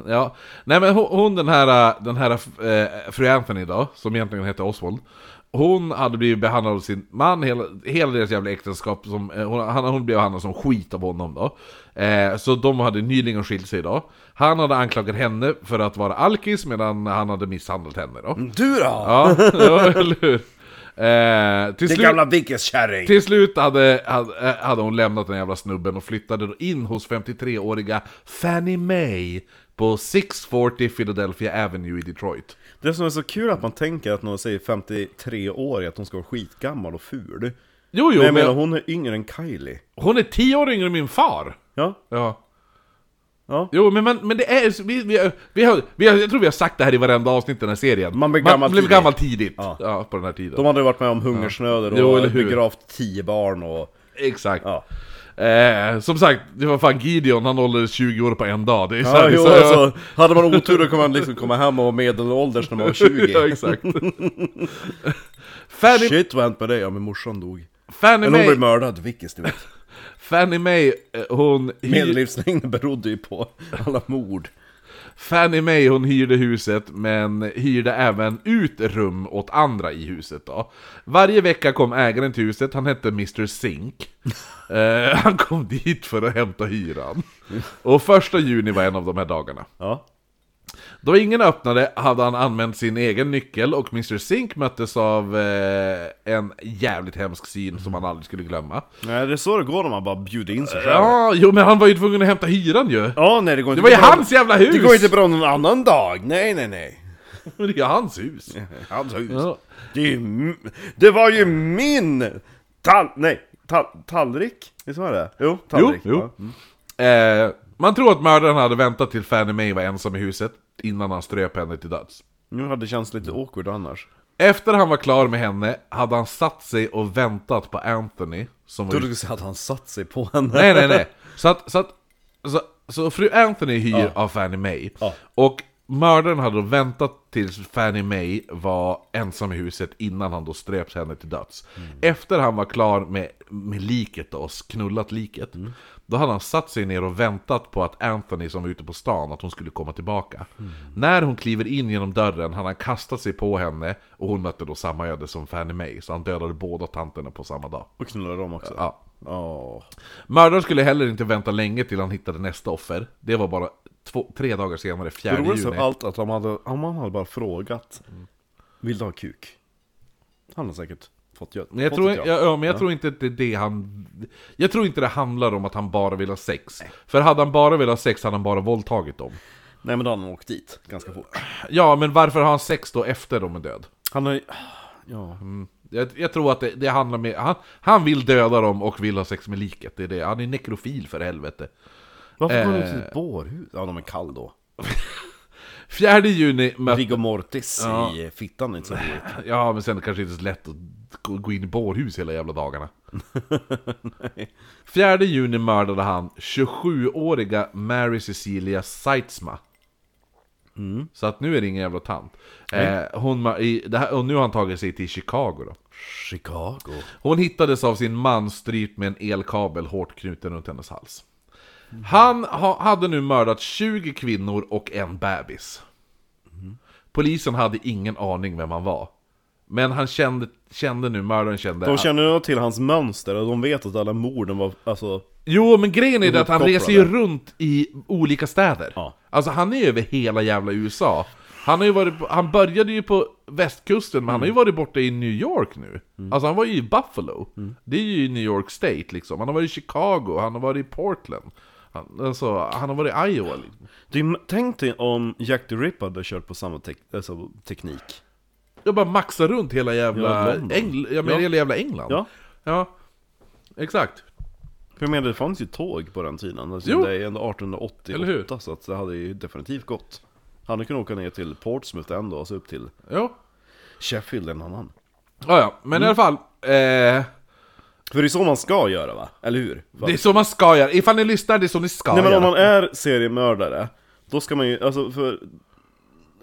Ja, nej men hon- hon den här, den här eh, fru Anthony då, som egentligen hette Oswald Hon hade blivit behandlad av sin man hela, hela deras jävla äktenskap, som, eh, hon, han, hon blev behandlad som skit av honom då eh, Så de hade nyligen skilt sig då Han hade anklagat henne för att vara alkis medan han hade misshandlat henne då Du då? Ja, ja eller hur? Eh, till Din slut, gamla dikeskärring! till slut hade, hade, eh, hade hon lämnat den jävla snubben och flyttade då in hos 53-åriga Fanny Mae på 640 Philadelphia Avenue i Detroit. Det som är så kul är att man tänker att någon säger 53 år att hon ska vara skitgammal och ful. Jo, jo, men jag men menar hon är yngre än Kylie. hon är 10 år yngre än min far! Ja, Ja. Ja. Jo, men, man, men det är... Vi, vi, vi har, vi har, jag tror vi har sagt det här i varenda avsnitt i den här serien. Man blir gammal blev tidigt. gammal tidigt. Ja. Ja. på den här tiden. de hade varit med om hungersnöder och Jo, eller hur? begravt tio barn och... Exakt. Ja. Eh, som sagt, det var fan Gideon, han åldrades 20 år på en dag. Det är så Ja, här, jo, så, alltså, hade man otur då kommer man liksom komma hem och vara medelålders när man var 20. ja, exakt. Fanny Shit vad hänt med dig? Ja men morsan dog. Fanny Men hon blev Mae, mördad, Vickis du vet. Fanny Mae, eh, hon, hyr, Medellivslängden berodde ju på alla mord. Fanny Mae hon hyrde huset, men hyrde även ut rum åt andra i huset då. Varje vecka kom ägaren till huset, han hette Mr. Sink. Eh, han kom dit för att hämta hyran. Och första juni var en av de här dagarna. Ja. Då ingen öppnade hade han använt sin egen nyckel och Mr. Sink möttes av eh, en jävligt hemsk syn som han aldrig skulle glömma. Nej, det är så det går när man bara bjuder in sig själv. Ja, Ja, jo men han var ju tvungen att hämta hyran ju! nej det går Det inte var ju bra. hans jävla hus! Det går inte bra någon annan dag. Nej, nej, nej. Det är ju hans hus! Hans hus. Ja. Det, är ju, m- det var ju min tall... Nej, tall, tallrik. Visst var det? Jo, Jo, tallrik. jo. Ja. Mm. Eh, man tror att mördaren hade väntat till Fanny Mae var ensam i huset innan han ströp henne till döds. Nu hade det känts lite awkward annars. Efter han var klar med henne hade han satt sig och väntat på Anthony som var Då du säga att han satt sig på henne. Nej, nej, nej. Så att, så att så, så fru Anthony hyr av Fanny Mae. Ja. Och mördaren hade då väntat tills Fanny Mae var ensam i huset innan han då ströps henne till döds. Efter han var klar med, med liket då, och knullat liket. Då hade han satt sig ner och väntat på att Anthony som var ute på stan, att hon skulle komma tillbaka. När hon kliver in genom dörren hade han kastat sig på henne och hon mötte då samma öde som Fanny Mae. Så han dödade båda tanterna på samma dag. Och knullade dem också. Ja. Åh. Mördaren skulle heller inte vänta länge till han hittade nästa offer. Det var bara två, tre dagar senare, 4 Det roligaste av juni. allt att om han hade, om han hade bara frågat Vill du ha kuk? Han har säkert fått gött. Men jag, fått tror, ett jag, ja. ja, men jag tror inte att det är det han... Jag tror inte det handlar om att han bara vill ha sex. För hade han bara velat ha sex hade han bara våldtagit dem. Nej men då hade han åkt dit ganska fort. Ja, men varför har han sex då efter de är död? Han har ju... Ja. Jag, jag tror att det, det handlar med... Han, han vill döda dem och vill ha sex med liket. Det är det. Han är nekrofil för helvete. Varför går han ut till Eh. ett bårhus? Ja de är kall då. 4 juni mötte... Viggo Mortis i eh, fittan är inte så roligt. Ja, men sen kanske inte så lätt att gå- gå in i bårhus hela jävla dagarna. 4 juni mördade han 27-åriga Mary Cecilia Seitzma. Så att nu är det ingen jävla tant. Eh, hon, ma- i, det här, och nu har han tagit sig till Chicago då. Chicago. Hon hittades av sin man strypt med en elkabel hårt knuten runt hennes hals. Han ha, hade nu mördat 20 kvinnor och en bebis. Polisen hade ingen aning vem han var. Men han kände, kände nu, mördaren kände... De att- känner nog till hans mönster och de vet att alla morden var... Alltså... Jo, men grejen är det att han Ihopkopplade. reser ju runt i olika städer. Ja. Alltså han är ju över hela jävla USA. Han, har ju varit, på- han började ju på västkusten, men han Mm. har ju varit borta i New York nu. Alltså han var ju i Buffalo. Mm. Det är ju i New York State liksom. Han har varit i Chicago, han har varit i Portland. Han, alltså, han har varit i Iowa. Liksom. Det är, tänk dig om Jack the Ripper hade kört på samma tek- alltså, teknik. Jag bara maxar runt hela jävla, Ja, London. Engl- jag menar Ja. hela jävla England. Ja. ja. Exakt. För jag menar, det fanns ju tåg på den tiden. Alltså, Jo. Det är ändå 1888, Eller hur? så att det hade ju definitivt gått. Han hade kunnat åka ner till Portsmouth ändå, och så upp till Ja, Sheffield en annan. ja, ja. Mm. men i alla fall. Eh, För det är så man ska göra va? Eller hur? Va? det är så man ska göra. Ifall ni lyssnar, det är så ni ska Nej men göra. om man är seriemördare, då ska man ju, alltså för...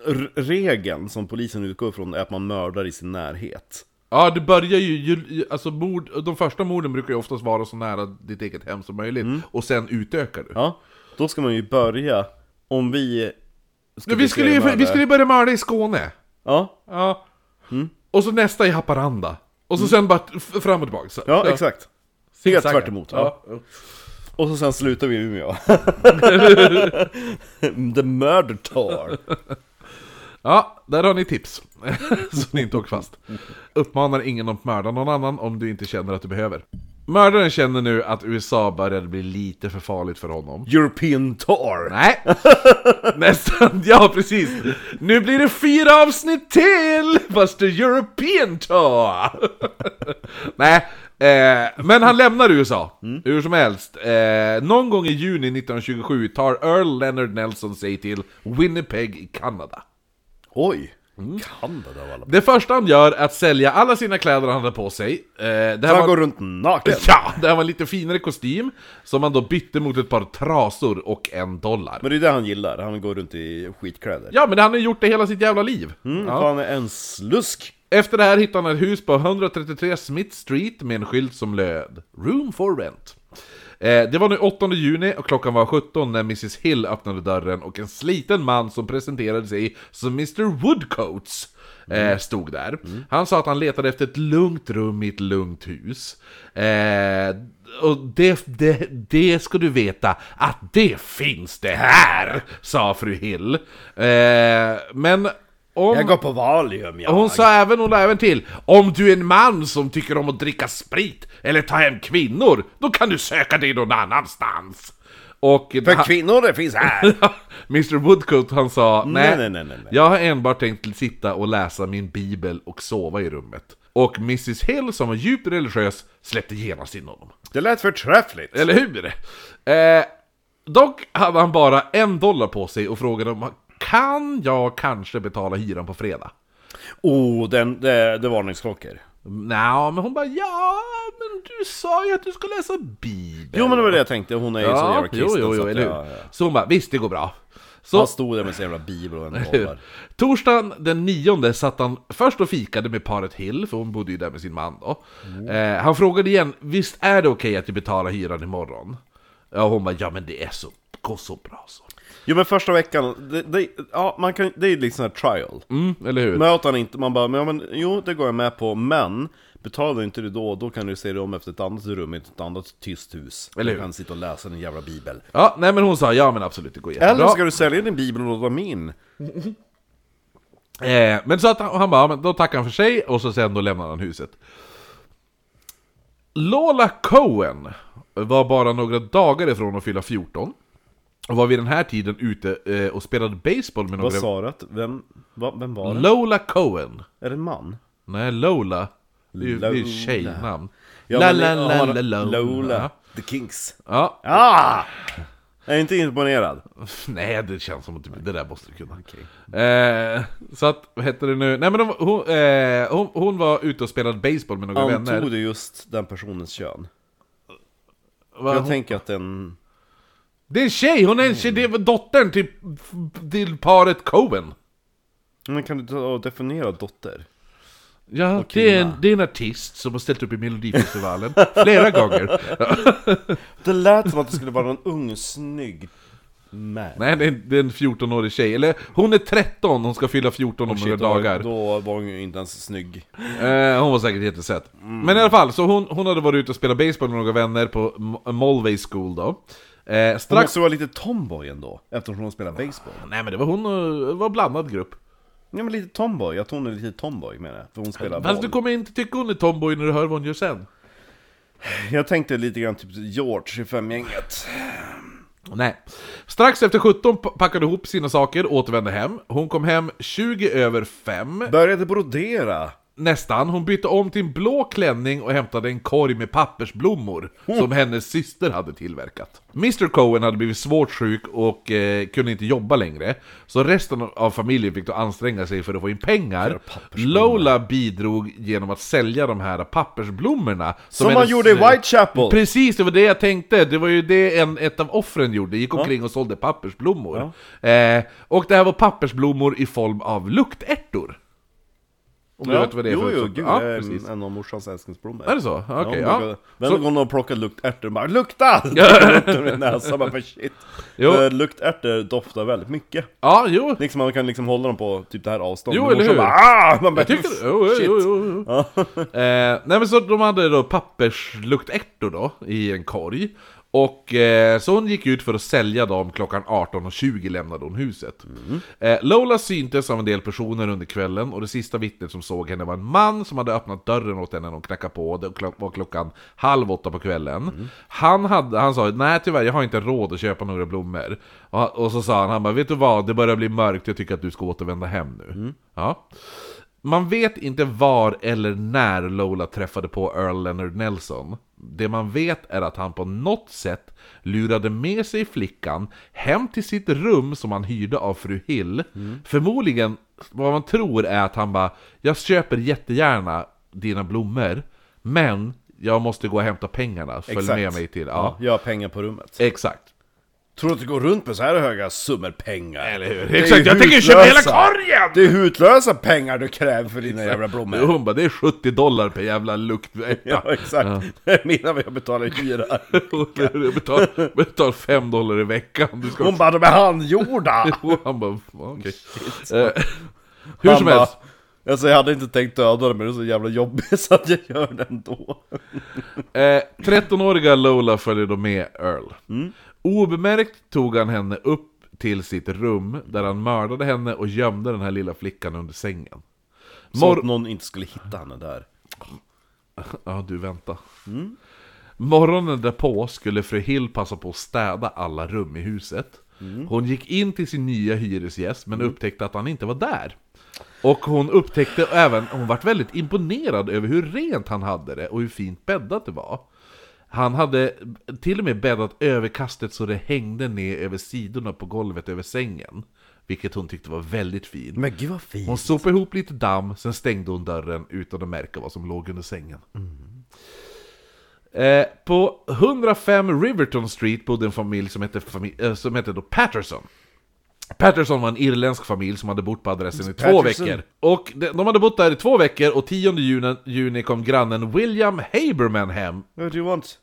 r- Regeln som polisen utgår ifrån är att man mördar i sin närhet. Ja, det börjar ju, ju- ju, alltså mord, de första morden brukar ju oftast vara så nära ditt eget hem som möjligt, och sen utökar du. Mm. Ja, då ska man ju börja, om vi... Ska Nu, vi, skulle ju, vi seriemördare- skulle ju börja mörda i Skåne, Ja, ja. Mm. Och så nästa i Haparanda, och så sen bara t- f- fram och tillbaka. Så, ja, exakt. Helt Zigzagga. tvärt emot. Ja. Ja. Och så sen slutar vi i Umeå. The murder tour. Ja, där har ni tips. så ni inte åker fast. Uppmanar ingen att mörda någon annan om du inte känner att du behöver. Mördaren känner nu att USA började bli lite för farligt för honom. European tour. Nej! Nästan, ja precis! Nu blir det fyra avsnitt till! Fast det är European Tour! Nej, eh, men han lämnar USA, Mm. hur som helst. Eh, någon gång i juni 1927 tar Earl Leonard Nelson sig till Winnipeg i Kanada. Oj. Mm. Kanada av alla Det första han gör är att sälja alla sina kläder han hade på sig. Eh, det här Han var- går runt naken. Ja, det här var en lite finare kostym, som han då bytte mot ett par trasor och en dollar. Men det är det han gillar, han går runt i skitkläder. Ja, men han har gjort det hela sitt jävla liv. Mm, för Han är en slusk. Efter det här hittade han ett hus på 133 Smith Street med en skylt som löd ”Room for rent”. Eh, det var nu 8 juni och klockan var 17 när Mrs Hill öppnade dörren och en sliten man som presenterade sig som Mr Woodcoats eh, stod där. Han sa att han letade efter ett lugnt rum i ett lugnt hus. Eh, och det, det, det ska du veta att det finns det här, sa fru Hill. Eh, men om... Jag går på Valium jag. Och Hon sa även, hon la även till Om du är en man som tycker om att dricka sprit eller ta hem kvinnor, då kan du söka dig någon annanstans. Och För han- kvinnor det finns här! Mr Woodcote han sa nej, nej, nej, nej, nej." jag har enbart tänkt sitta och läsa min bibel och sova i rummet. Och Mrs Hill som var djupt religiös släppte genast in honom. Det lät förträffligt! Eller hur? Eh, dock hade han bara en dollar på sig och frågade om kan jag kanske betala hyran på fredag? Oh, den, det, det är varningsklockor. Nja, men hon bara ja, men du sa ju att du ska läsa Bibeln. Jo men det var det jag tänkte, hon är ju så ja, jävla kristen jo, jo, så jo, att eller hur? jag- Så hon bara, visst det går bra. Så, Han stod där med sin jävla bibel och en hur? dollar. Torsdagen den nionde satt han först och fikade med paret Hill, för hon bodde ju där med sin man då. Mm. Eh, han frågade igen, visst är det okej att du betalar hyran imorgon? Ja, hon bara, ja men det är så, går så bra så. Jo men första veckan, det, det, ja, man kan, det är ju liksom en trial. Mm, eller hur? Möter han inte, man bara men, ja, men jo det går jag med på, men betalar inte du då, då kan du se dig om efter ett annat rum i ett annat tyst hus. Eller du hur? kan sitta och läsa din jävla bibel. Ja, nej men hon sa, ja men absolut det går jättebra. Eller ska du sälja din bibel och låta min? Eh, men så att han, han bara, "Ja, men då tackar han för sig och så sen då lämnar han huset. Lola Cohen var bara några dagar ifrån att fylla 14 och var vid den här tiden ute eh, och spelade baseball Vad med några... sa du att, vem, va, vem var det? Lola Cohen. är det en man? Nej, Lola. Det är ju det är ju Lola. tjejnamn. Ja, la, men- la, la, ja, la, la, Lola, the Kinks. Ja, Ah! Jag är inte imponerad. Nej, det känns som att du- det där måste du kunna. Eh, så att, vad hette det nu? Nej men de, hon, eh, hon, hon var ute och spelade baseball med några vänner. Antog du just den personens kön? Va, Jag hon, tänker att den... Det är en tjej, hon är en tjej, det är dottern till, till paret Cohen. Men kan du ta och definiera dotter? Ja, det, är en, det är en artist som har ställt upp i Melodifestivalen flera gånger. Det lät som att det skulle vara någon ung, snygg man. Nej, det är, en- det är en 14-årig tjej. Eller hon är 13, hon ska fylla 14 om några Shit, då- dagar. Då var hon ju inte ens snygg. Eh, hon var säkert jättesöt. Men i alla fall, så hon, hon hade varit ute och spelat baseball med några vänner på M- Mulvey School då. Eh, Hon strax... måste vara lite tomboy ändå, eftersom hon spelar baseball. Nej men det var hon och... Det var en blandad grupp. Ja men lite tomboy, att hon är lite tomboy menar jag, för hon spelar Fast du boll. kommer inte tycka hon är tomboy när du hör vad hon gör sen. Jag tänkte lite grann typ George i femgänget. Nej. Strax efter 17 pa- packade ihop sina saker, återvände hem. Hon kom hem 20 över 5, Började brodera! nästan. Hon bytte om till en blå klänning och hämtade en korg med pappersblommor som hennes syster hade tillverkat. Mr Cohen hade blivit svårt sjuk och eh, kunde inte jobba längre, så resten av familjen fick då anstränga sig för att få in pengar. Lola bidrog genom att sälja de här pappersblommorna. Som man hennes, gjorde i eh, Whitechapel! Precis, det var det jag tänkte. Det var ju det en, ett av offren gjorde. Gick omkring och sålde pappersblommor. Eh, och det här var pappersblommor i form av luktärtor. Om du Ja, vet vad det är jo, för... Jo, gud, ja, det är precis. en av morsans älsklingsblommor. Är det så? Okej, hon ja. brukar- Så- Vem går och plockar luktärtor och bara 'Lukta!' Luktar med näsan, bara för shit. Jo. För luktärtor doftar väldigt mycket. Ja, jo. Liksom, man kan liksom hålla dem på typ det här avståndet. Jo, Men eller morsan hur? Bara, ah! Man bara, Jag tycker... Jo, jo, shit. jo, jo, jo. Eh, nej men så de hade då pappersluktärtor då, i en korg. Och eh, så hon gick ut för att sälja dem klockan 18.20 lämnade hon huset. Eh, Lola syntes av en del personer under kvällen och det sista vittnet som såg henne var en man som hade öppnat dörren åt henne när hon knackade på. Det klo- var klockan halv åtta på kvällen. Han, hade, han sa nej tyvärr, jag har inte råd att köpa några blommor. Och, och så sa han, han bara, vet du vad, det börjar bli mörkt, jag tycker att du ska återvända hem nu. Ja. Man vet inte var eller när Lola träffade på Earl Leonard Nelson. Det man vet är att han på något sätt lurade med sig flickan hem till sitt rum som han hyrde av fru Hill. Mm. Förmodligen, vad man tror är att han bara Jag köper jättegärna dina blommor, men jag måste gå och hämta pengarna, följ Exakt. med mig till... Ja, Eh. Ja, jag har pengar på rummet. Exakt. Tror du att det går runt med så här höga summor pengar? Eller hur? Det är Exakt, ju jag tänker köpa hela hutlösa. korgen! Det är hutlösa pengar du kräver för dina jävla blommor! Jo, hon bara, det är 70 dollar per jävla luktäppa. Ja, exakt! Det är mina vad jag betalar i hyra! Du betalar, betalar 5 dollar i veckan. Du ska Hon bara 'De är handgjorda!' Och han bara, "Ja, okej. Eh, Hur som Han bara, helst. Alltså jag hade inte tänkt döda det men det är så jävla jobbigt så att jag gör det ändå Eh, 13-åriga Lola följer då med Earl. Obemärkt tog han henne upp till sitt rum där han mördade henne och gömde den här lilla flickan under sängen. Så Mor- att någon inte skulle hitta henne där Ja, du vänta. Morgonen därpå skulle fru Hill passa på att städa alla rum i huset. Hon gick in till sin nya hyresgäst men upptäckte att han inte var där. Och hon upptäckte även, hon vart väldigt imponerad över hur rent han hade det och hur fint bäddat det var. Han hade till och med bäddat överkastet så det hängde ner över sidorna på golvet över sängen. Vilket hon tyckte var väldigt fint. Men gud vad fint! Hon sopade ihop lite damm, sen stängde hon dörren utan att märka vad som låg under sängen. Eh, på 105 Riverton Street bodde en familj som hette, fami- eh, som hette då Patterson. Patterson var en irländsk familj som hade bott på adressen i två Patterson. veckor. Och de, de hade bott där i två veckor och 10 juni, juni kom grannen William Haberman hem. What do you want?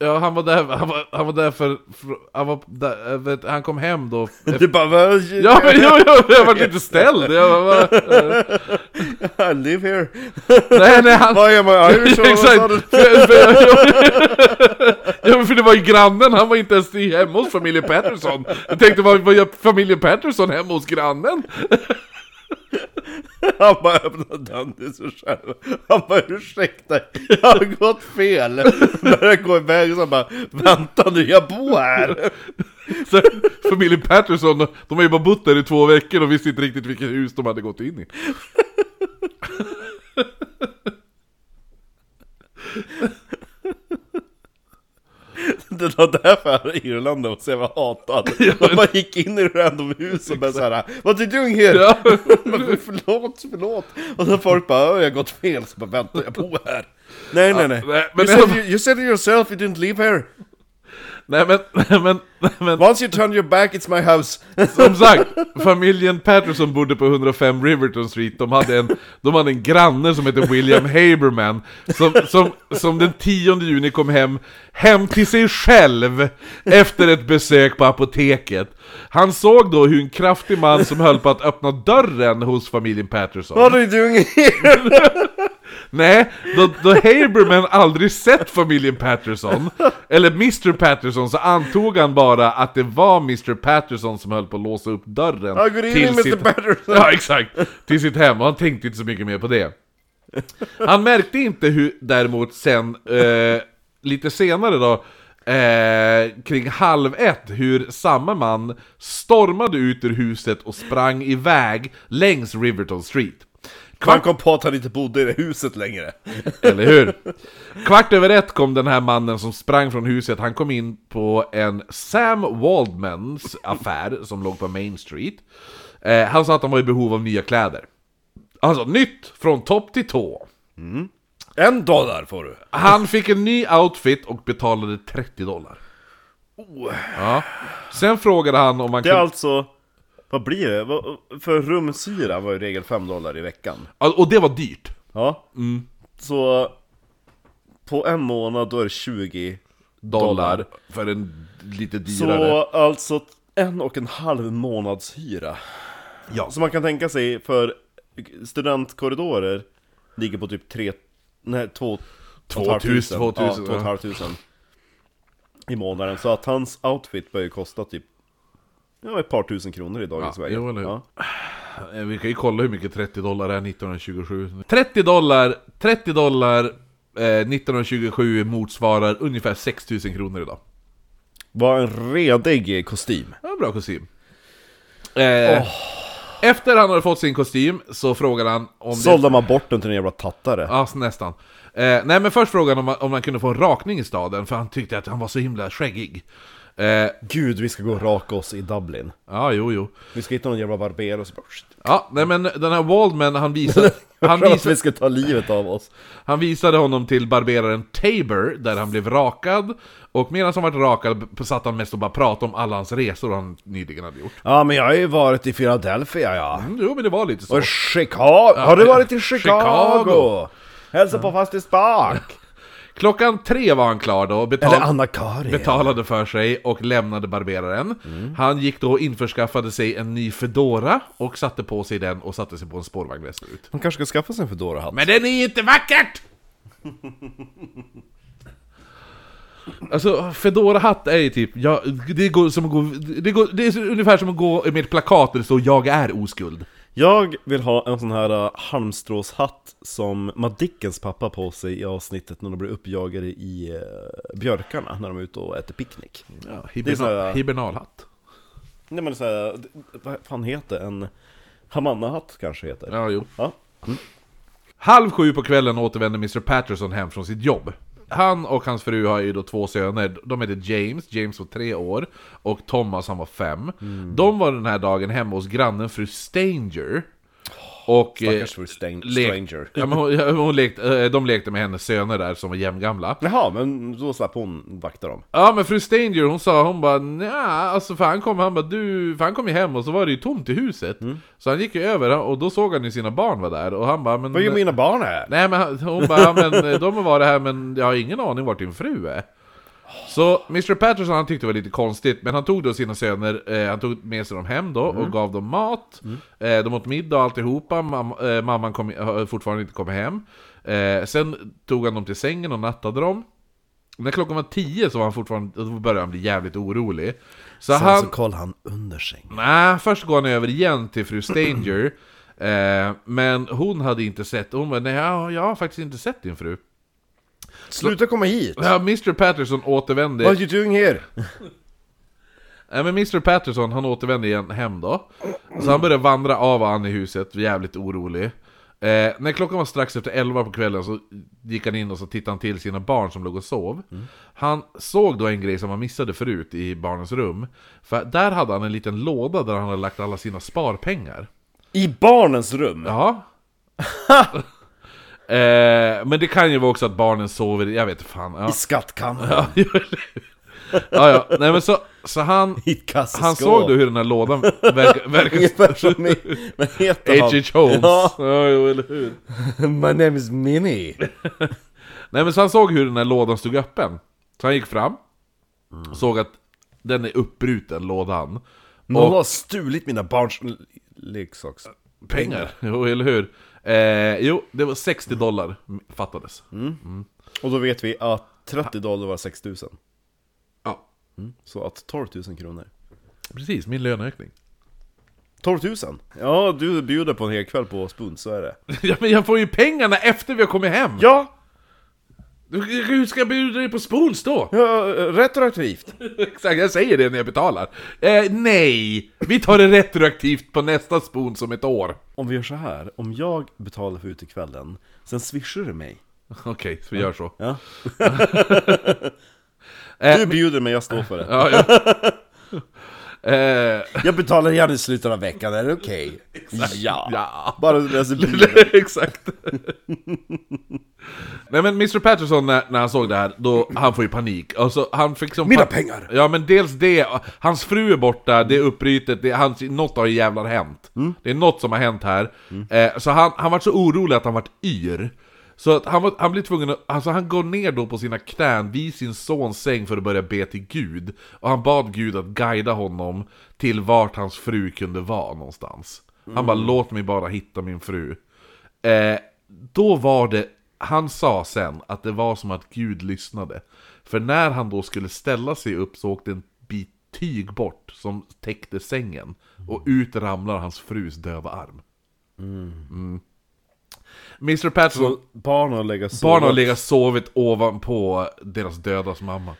Ja, han var där, han var, han var där för... för han, var där, eh, vet, han kom hem då... Du bara "Vad- Ja men jo, jo, jag var lite ställd! Jag bara, "Va?" I live here! nej, nej, han, Why am I Irish? Exakt! För- för- ja, men för det var ju grannen, han var inte ens i- hemma hos familjen Patterson. Jag tänkte, vad vad gör familjen Patterson hemma hos grannen? Han bara öppnar dörren till sig själv Han bara ursäkta, jag har gått fel! Börjar gå iväg så han bara Vänta nu, jag bor här! Så, familjen Patterson, de har ju bara bott där i två veckor och visste inte riktigt vilket hus de hade gått in i. Det var därför Irland var så jävla hatad Han bara gick in i random hus och bara såhär What you doing here? Ja. Men förlåt, förlåt! Och så folk bara, "Åh, jag har gått fel, så bara vänta, jag bor här. Nej, nej, nej. nej, men- you, said you, you said it yourself, you didn't live here. Nej men, nej, men, nej, men Once you turn your back, it's my house. som sagt, familjen Patterson bodde på 105 Riverton Street, de hade en, de hade en granne som hette William Haberman, som, som, som den 10 juni kom hem, hem till sig själv, efter ett besök på apoteket. Han såg då hur en kraftig man som höll på att öppna dörren hos familjen Patterson. What are you doing here? Nej, då, då Haberman aldrig sett familjen Patterson, eller Mr Patterson, så antog han bara att det var Mr Patterson som höll på att låsa upp dörren Ja, good evening, Mr. Patterson. Ja, exakt! Till sitt hem, och han tänkte inte så mycket mer på det. Han märkte inte hur, däremot sen, eh, lite senare då, eh, kring halv ett, hur samma man stormade ut ur huset och sprang iväg längs Riverton Street. Man kom på att han inte bodde i det huset längre. Eller hur? Kvart över ett kom den här mannen som sprang från huset. Han kom in på en Sam Waldmans affär som låg på Main Street. Eh, han sa att han var i behov av nya kläder. Alltså nytt från topp till tå. En dollar får du. Han fick en ny outfit och betalade 30 dollar. Ja. Sen frågade han om man Oh. Det är kunde... alltså... Vad blir det? Vad- För rumshyra var i regel 5 dollar i veckan. Alltså, Och det var dyrt. Ja. Så... På en månad då är det 20 Dollar. För en lite dyrare. Så alltså en och en halv månads hyra. Ja. Som man kan tänka sig för studentkorridorer ligger på typ tre, nej två, två och ett halvt 2000, tusen. Ja, 2000, två och ett halvt tusen i månaden. Så att hans outfit börjar ju kosta typ Ja, ett par tusen kronor i dagens Ja, Sverige. jo, eller hur. Ja. Eh, Vi kan ju kolla hur mycket 30 dollar är 1927. 30 dollar, 30 dollar eh, 1927 motsvarar ungefär 6 000 kronor idag. Var en redig kostym. Ja, bra kostym. Eh, Efter han hade fått sin kostym så frågade han om det... Sålde man bort den till en jävla tattare. Ja, s- nästan. Eh, nej, men först frågade han om, man- om han kunde få en rakning i staden, för han tyckte att han var så himla skäggig. Eh, Gud, vi ska gå och raka oss i Dublin. ja, jo, jo. Vi ska hitta någon jävla barber och så bara... Ja, nej men den här Waldman, han visade... Han Han att visade vi ska ta livet av oss. Han visade honom till barberaren Tabor, där han blev rakad. Och medan han var rakad b- satt han mest och bara pratade om alla hans resor han nyligen hade gjort. Ja, men jag har ju varit i Philadelphia, ja. Mm, jo, men det var lite så. Och Chicago! Har du varit i Chicago? Chicago. Hälsa på Fastis Spark! Klockan tre var han klar då, betal- Eller Anna-Karin. betalade för sig och lämnade barberaren. Han gick då och införskaffade sig en ny Fedora och satte på sig den och satte sig på en spårvagn västerut. Man kanske ska skaffa sig en Foodora-hatt? Men den är ju inte vackert! Alltså, Fedora-hatt är ju typ, ja, det, går som att gå, det, går, det är ungefär som att gå med ett plakat där det står 'Jag är oskuld' Jag vill ha en sån här uh, halmstråshatt som Madickens pappa har på sig i avsnittet när de blir uppjagade i eh, björkarna när de är ute och äter picknick. ja, Det är så hibernal, här- Hibernalhatt. Nej men såhär, vad fan heter en Hamanna-hatt kanske heter? Ja, jo. Ja. Halv sju på kvällen återvänder Mr Patterson hem från sitt jobb. Han och hans fru har ju då två söner, de heter James, James var tre år, och Thomas han var fem. Mm. De var den här dagen hemma hos grannen fru Stanger. Och, eh, Stackars fru Stan- lek- Stranger. Ja, men hon, ja, hon lekte, eh, de lekte med hennes söner där som var jämngamla. Jaha, men då slapp hon vakta dem. Ja men fru Stanger hon sa, hon bara nja, alltså för han kom, han bara du, för han kom ju hem och så var det ju tomt i huset. Mm. Så han gick ju över och då såg han ju sina barn var där och han bara men... Vad gör mina barn här? Nej men han- hon bara, ja, men eh, de har varit här men jag har ingen aning vart din fru är. Så Mr Patterson han tyckte det var lite konstigt, men han tog då sina söner, eh, han tog med sig dem hem då Mm. och gav dem mat. Eh, de åt middag och alltihopa, Mam eh, mamman kom, har fortfarande inte kommit hem. Eh, sen tog han dem till sängen och nattade dem. När klockan var tio så var han fortfarande, då började han bli jävligt orolig. Så Sen han, så kollade han under sängen. Nej, först går han över igen till fru Stanger. eh, men hon hade inte sett, hon bara nej jag, jag har faktiskt inte sett din fru. Sluta komma hit! Ja, Mr Patterson återvände. What are you doing here? Nej men Mr Patterson han återvände igen hem då. Så han började vandra av och an i huset, jävligt orolig. Eh, när klockan var strax efter 11 på kvällen så gick han in och så tittade han till sina barn som låg och sov. Han såg då en grej som han missade förut i barnens rum. För där hade han en liten låda där han hade lagt alla sina sparpengar. I barnens rum? Ja. eh, men det kan ju vara också att barnen sover, jag vet fan. Ja, I skattkammaren? ja, ja. Nej, men så, så han, I ett kassaskåp? han såg då hur den här lådan verkar... verkar Ungefär som i... Vad heter han? H.H. Holmes. Ja. Ja, jo, eller hur? My name is Minnie. Nej men så han såg hur den här lådan stod öppen. Så han gick fram, såg att den är uppbruten, lådan. Någon har stulit mina barns l- leksaks... Pengar! Jo, eller hur? Eh, jo, det var 60 dollar fattades. Och då vet vi att 30 dollar var 6 000. Ja, Så att 12 000 kronor. precis, min löneökning. 12 000? Ja, du bjuder på en hel kväll på Spoon, så är det. ja men jag får ju pengarna efter vi har kommit hem! Ja! Hur ska jag bjuda dig på spoons då? ja eh, retroaktivt! Exakt, jag säger det när jag betalar. Eh, nej! Vi tar det retroaktivt på nästa spoon som ett år. Om vi gör så här, om jag betalar för utekvällen, sen swishar du mig. Okej, så vi gör så. Ja. Eh, Du bjuder men jag står för det. Ja, ja. Eh, Jag betalar gärna i slutet av veckan, är det okej? Ja. ja. Bara du läser bilen. Exakt. Nej men Mr Patterson när, när han såg det här, då, han får ju panik. Alltså, han fick som Mina pa- pengar! Ja men dels det, hans fru är borta, det är uppbrytet, det, hans, något har ju jävlar hänt. Mm. Det är något som har hänt här. Eh, så han, han var så orolig att han vart yr. Så att han, var, han blir tvungen att, alltså han går ner då på sina knän vid sin sons säng för att börja be till Gud. Och han bad Gud att guida honom till vart hans fru kunde vara någonstans. Han Mm. bara låt mig bara hitta min fru. Eh, då var det, han sa sen att det var som att Gud lyssnade. För när han då skulle ställa sig upp så åkte en bit tyg bort som täckte sängen. Och ut ramlar hans frus döva arm. Mm. Mr Patterson, Så Barn har legat så barnen har legat sovit ovanpå deras dödas mamma.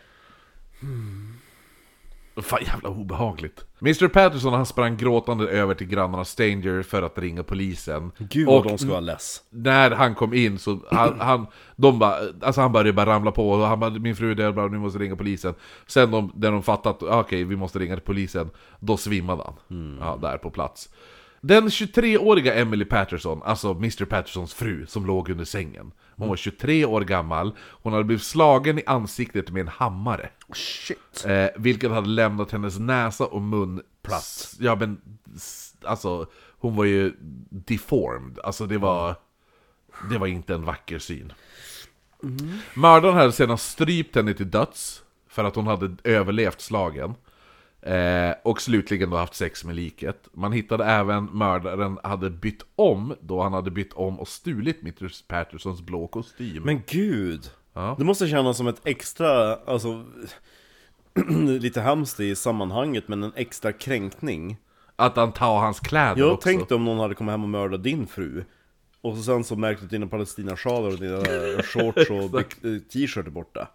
Fan jävla obehagligt. Mr Patterson han sprang gråtande över till grannarnas Stanger för att ringa polisen. Gud vad de ska vara less. när han kom in så, han, han, de bara, alltså han började bara ramla på och han bara, min fru är död, bla, nu måste jag ringa polisen. Sen de, när de fattat, ah, okej vi måste ringa till polisen, då svimmade han. Ja, där på plats. Den 23-åriga Emily Patterson, alltså Mr Pattersons fru, som låg under sängen. Hon var 23 år gammal, hon hade blivit slagen i ansiktet med en hammare. Shit. Eh, vilket hade lämnat hennes näsa och mun platt. Ja men, s- alltså hon var ju deformed. Alltså det var, det var inte en vacker syn. Mm. Mördaren hade sedan strypt henne till döds för att hon hade överlevt slagen. Eh, och slutligen då haft sex med liket. Man hittade även mördaren hade bytt om då han hade bytt om och stulit Mr Pattersons blå kostym. Men gud! Det måste kännas som ett extra, alltså lite hemskt i sammanhanget men en extra kränkning. Att han tar hans kläder Jag också. tänkte om någon hade kommit hem och mördat din fru och så sen så märkte att dina palestinasjalar och dina shorts och byx- eh, t-shirt är borta.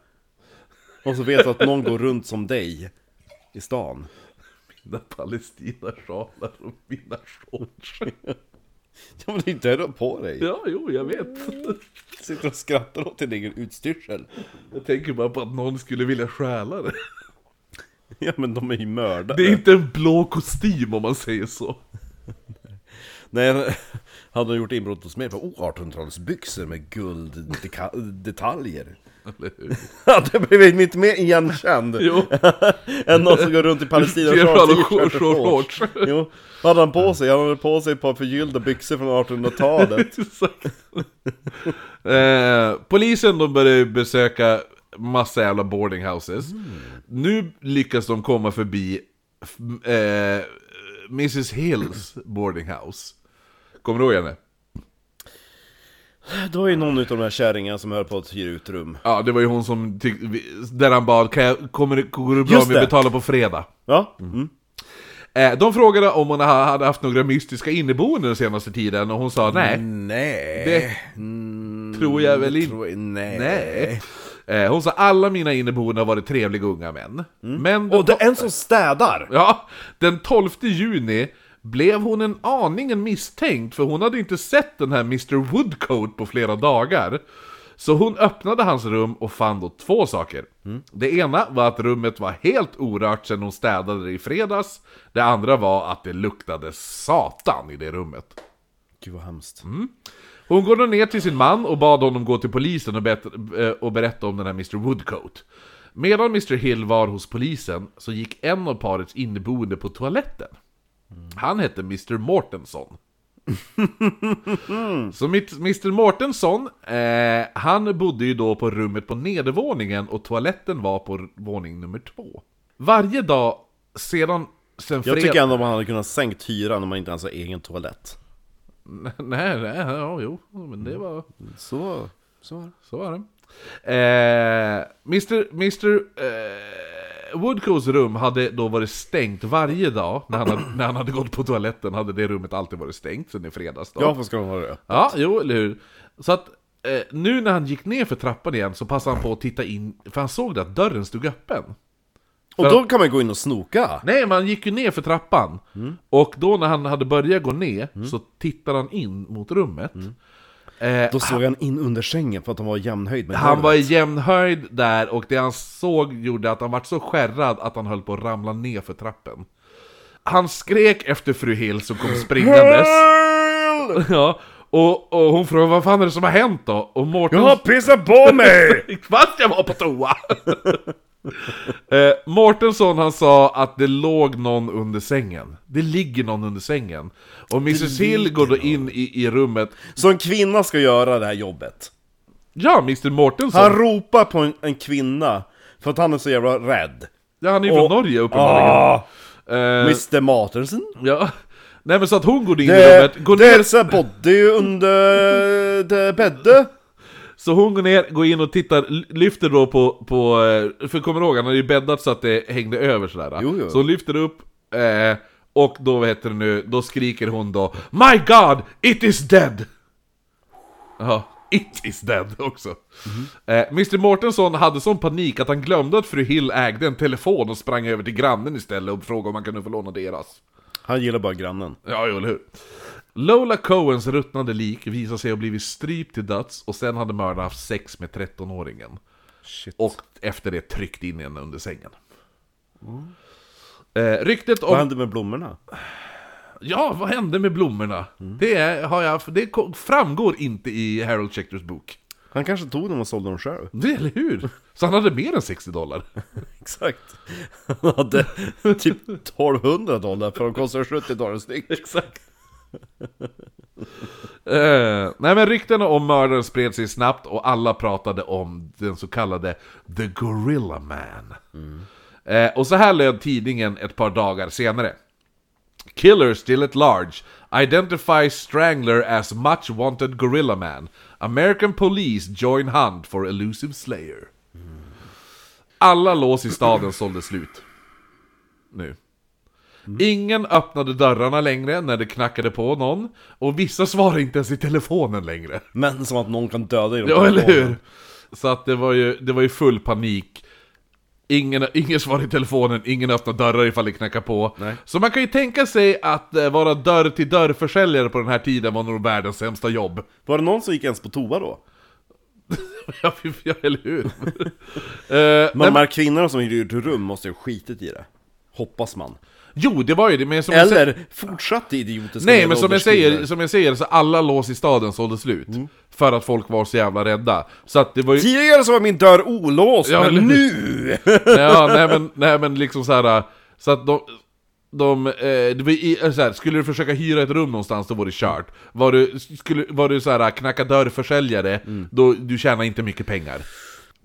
Och så vet du att någon går runt som dig i stan. Mina palestinasjalar och mina shorts. Ja men det är inte på dig. Ja, jo, jag vet. Sitter och skrattar åt din egen utstyrsel. Jag tänker bara på att någon skulle vilja stjäla det. Ja men de är ju mördare. Det är inte en blå kostym om man säger så. Nej, hade de gjort inbrott hos mig på oh, 1800-talsbyxor med gulddetaljer. Eller hur? Hade jag blivit inte mer igenkänd Jo, än någon som går runt i Palestina och Gerard och kör t-shirt och shorts. shorts. Jo, vad hade han på sig? Han hade på sig ett par förgyllda byxor från 1800-talet. exakt. Eh, polisen de började besöka massa jävla boarding houses. Nu lyckas de komma förbi f- eh, Mrs Hills boarding house. Kommer du ihåg henne? Det var ju någon av de här kärringarna som höll på att hyra ut rum. Ja, det var ju hon som tyck, vi- där han bad, kan jag, kommer det, går det bra Just om jag det. betalar på fredag? Ja, mm. Eh, de frågade om hon ha- hade haft några mystiska inneboende den senaste tiden och hon sa nej, Mm, Nej. det Mm, tror jag väl inte. tror jag- nej. nej. Eh, hon sa alla mina inneboende har varit trevliga unga män. Men Mm. Och det är en som städar! Ja, den 12 juni blev hon en aningen misstänkt för hon hade inte sett den här Mr Woodcoat på flera dagar. Så hon öppnade hans rum och fann då två saker. Det ena var att rummet var helt orört sedan hon städade det i fredags. Det andra var att det luktade satan i det rummet. Gud vad hemskt. Mm. Hon går då ner till sin man och bad honom gå till polisen och, bet- eh, och berätta om den här Mr Woodcoat. Medan Mr Hill var hos polisen så gick en av parets inneboende på toaletten. Han hette Mr Mortenson. så mitt- Mr Mortenson, eh, han bodde ju då på rummet på nedervåningen och toaletten var på våning nummer två. Varje dag sedan... Sen Jag fred- tycker ändå man hade kunnat sänkt hyran om man inte ens har egen toalett. Nej, nej, ja, jo, men det var... Så, så var det. Så var det. Eh, Mr. Mr. Eh, Woodcoats rum hade då varit stängt varje dag när han, hade, när han hade gått på toaletten hade det rummet alltid varit stängt sen i fredags då. Ja, varför ska de ha det? Ja, jo, eller hur? Så att eh, nu när han gick ner för trappan igen så passade han på att titta in, för han såg det att dörren stod öppen. Och då kan man gå in och snoka! Nej, man gick ju ner för trappan. Och då när han hade börjat gå ner så tittade han in mot rummet. Eh, Då såg han in under sängen för att han var i jämnhöjd med Han golvet. var i jämn höjd där och det han såg gjorde att han var så skärrad att han höll på att ramla ner för trappen. Han skrek efter fru Hill som kom springandes. ja, och, och hon frågade vad fan är det som har hänt då? Och Mårten... Jag har pissat på mig! Fast jag var på toa! eh, Mårtensson han sa att det låg någon under sängen. Det ligger någon under sängen. Och Mrs Hill går då in i, i rummet. Så en kvinna ska göra det här jobbet. Ja, Mr Mårtensson! Han ropar på en, en kvinna för att han är så jävla rädd. Ja, han är ju från Och- Norge uppenbarligen. Eh, Mr Matersen? Eh, Ja. Nej men så att hon går in i Det, rummet, går det är ner, så här body under eh, det bädde. så hon går ner, går in och tittar, l- lyfter då på, på eh, för kommer du ihåg, han hade ju bäddat så att det hängde över sådär. Jo, jo. Så hon lyfter upp, eh, och då vad heter det nu, då skriker hon då My God, it is dead! Jaha. It is dead också. Mhm. Eh, Mr Mortenson hade sån panik att han glömde att fru Hill ägde en telefon och sprang över till grannen istället och frågade om han kunde få låna deras. Han gillar bara grannen. Ja, jo, eller hur? Lola Coens ruttnande lik visade sig ha blivit strypt till döds och sen hade mördaren haft sex med 13-åringen. Shit. Och efter det tryckt in henne under sängen. Eh, ryktet Vad om... hände med blommorna? Ja, vad hände med blommorna? Det, är- har jag, det ko- framgår inte i Harold Schecters bok. Han kanske tog dem och sålde dem själv. Det, eller hur? Så han hade mer än 60 dollar. Exakt. Han hade typ 1200 dollar för de kostar 70 dollar styck. Exakt. Eh, nej men ryktena om mördaren spred sig snabbt och alla pratade om den så kallade The Gorilla Man. Eh, och så här löd tidningen ett par dagar senare. Killer still at large. Identifies strangler as much wanted gorilla man. American police join hunt for elusive slayer. Alla lås i staden sålde slut. Nu. Ingen öppnade dörrarna längre när det knackade på någon. Och vissa svarade inte ens i telefonen längre. Men som att någon kan döda genom Ja, eller telefonen. hur? Så att det var ju, det var ju full panik. Ingen, ingen svarar i telefonen, ingen öppnar dörrar ifall det knackar på. Nej. Så man kan ju tänka sig att eh, vara dörr-till-dörr-försäljare på den här tiden var nog världens sämsta jobb. Var det någon som gick ens på toa då? ja, fy- ja, eller hur? Eh, Men de här kvinnorna som hyrde rum måste ju ha skitit i det. Hoppas man. jo, det var ju det, men som jag sä- Eller fortsatte idiotiska Nej, men medelålders som jag, säger, kvinnor. som jag säger, så alla lås i staden sålde slut. Mm. För att folk var så jävla rädda. Så att det var ju... Tidigare så var min dörr olåst, Ja, eller men hur? nu! ja, nej men, nej men liksom så här. Så att de... De, eh, det var i, eh, så här, skulle du försöka hyra ett rum någonstans då var det kört. Var du, skulle, var du så här, knacka dörrförsäljare, Mm. då du tjänar inte mycket pengar.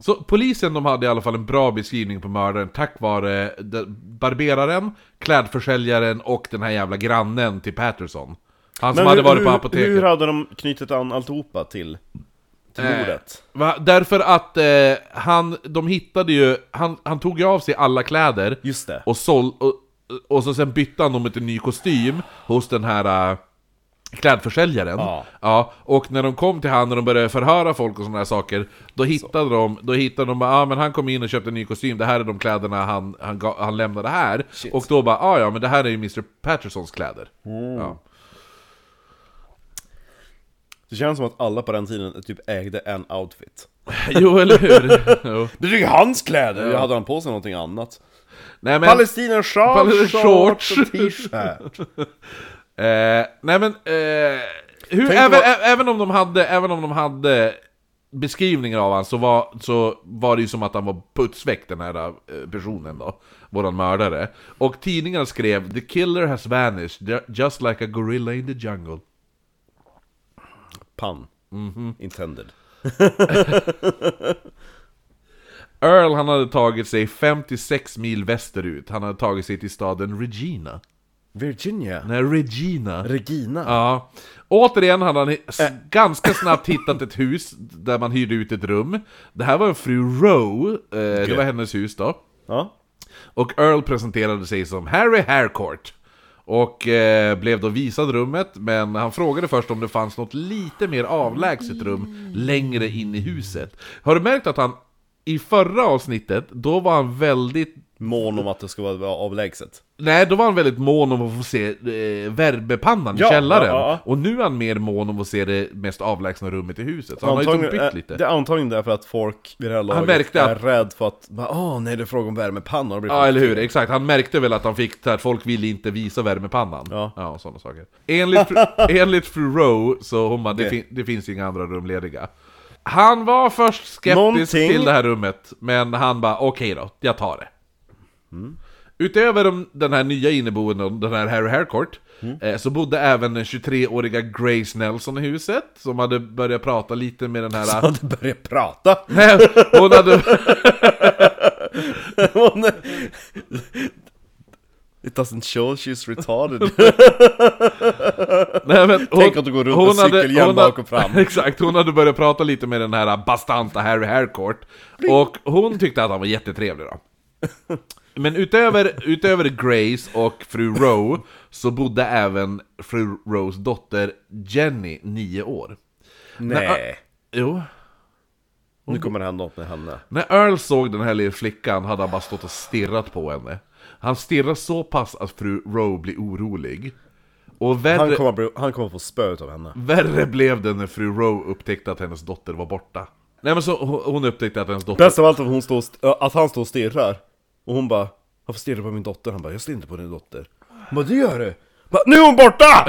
Så polisen de hade i alla fall en bra beskrivning på mördaren tack vare de- barberaren, klädförsäljaren och den här jävla grannen till Patterson. Han som Men hade hur- varit på hur- apoteket. Hur hade de knutit an alltihopa till, till Eh, mordet? Va? Därför att eh, han, de hittade ju, han, han tog ju av sig alla kläder Just det. och, sål, och, och så sen bytte han dem till en ny kostym hos den här eh, klädförsäljaren. Ja. och när de kom till han och de började förhöra folk och sådana här saker, då hittade de, då hittade de bara, ah, men han kom in och köpte en ny kostym, det här är de kläderna han, han, ga- han lämnade här. Och då bara, ah, ja men det här är ju Mr. Pattersons kläder. Ja. Det känns som att alla på den tiden typ ägde en outfit. Jo, eller hur? jo. Det är ju hans kläder! Ja. Hade han på sig någonting annat? Nej, men... Palestina shorts, Palestina shorts. shorts och t-shirt. Eh, nej men, eh, hur, Tänk även, vad- ä- även, om de hade, även om de hade beskrivningar av han så var, så var det ju som att han var putsväck den här eh, personen då, våran mördare. Och tidningarna skrev 'The killer has vanished, ju- just like a gorilla in the jungle' Pan. Mhm. Intended. Earl han hade tagit sig 56 mil västerut, han hade tagit sig till staden Regina. Virginia. Nej, Regina. Regina. Ja. Återigen hade han s- ganska snabbt hittat ett hus där man hyrde ut ett rum. Det här var en fru Rowe, eh, det var hennes hus då. Ja. Och Earl presenterade sig som Harry Harcourt. Och eh, blev då visad rummet, men han frågade först om det fanns något lite mer avlägset rum längre in i huset. Har du märkt att han i förra avsnittet, då var han väldigt Mån om att det ska vara avlägset. Nej, då var han väldigt mån om att få se eh, värmepannan i Ja, källaren. ja, ja, Och nu är han mer mån om att se det mest avlägsna rummet i huset. Så han har ju Antagligen, liksom bytt eh, lite. Det är antagligen därför att folk vid det här laget märkte är att- rädd för att bara, Åh nej, det är fråga om värmepannor. Det blir Ja, sjukt." eller hur? Exakt. Han märkte väl att han fick det här, folk ville inte visa värmepannan. Ja. och sådana saker. Enligt, fru- enligt fru Rowe, så hon bara, det, Det- fin- det finns ju inga andra rum lediga. Han var först skeptisk Någonting- till det här rummet, men han bara, okej då, jag tar det. Mm. Utöver de, den här nya inneboenden, den här Harry Harcourt, Mm. eh, så bodde även den 23-åriga Grace Nelson i huset, som hade börjat prata lite med den här... Så hade börjat prata. Nej, hon hade... Hon är- It doesn't show she's retarded. Nej, men hon, Tänk att du går runt med cykelhjälm hon hade- bak och fram. Exakt, hon hade börjat prata lite med den här bastanta Harry Harcourt. Och hon tyckte att han var jättetrevlig då. Men utöver, utöver Grace och fru Rowe så bodde även fru Rowes dotter Jenny, nio år. Nej. Eh, Jo. Nu kommer det hända något med henne. När Earl såg den här lilla flickan hade han bara stått och stirrat på henne. Han stirrar så pass att fru Rowe blir orolig. Och Han värre, kommer, bli- han kommer få spö av henne. värre blev det när fru Rowe upptäckte att hennes dotter var borta. Nej men så hon- hon upptäckte att hennes dotter... Bäst av allt att, hon står och st- äh, att han står och stirrar. Och hon bara, varför stirrar du på min dotter? Han bara, jag stirrar inte på din dotter. Hon bara, det gör du! Bara, nu är hon borta!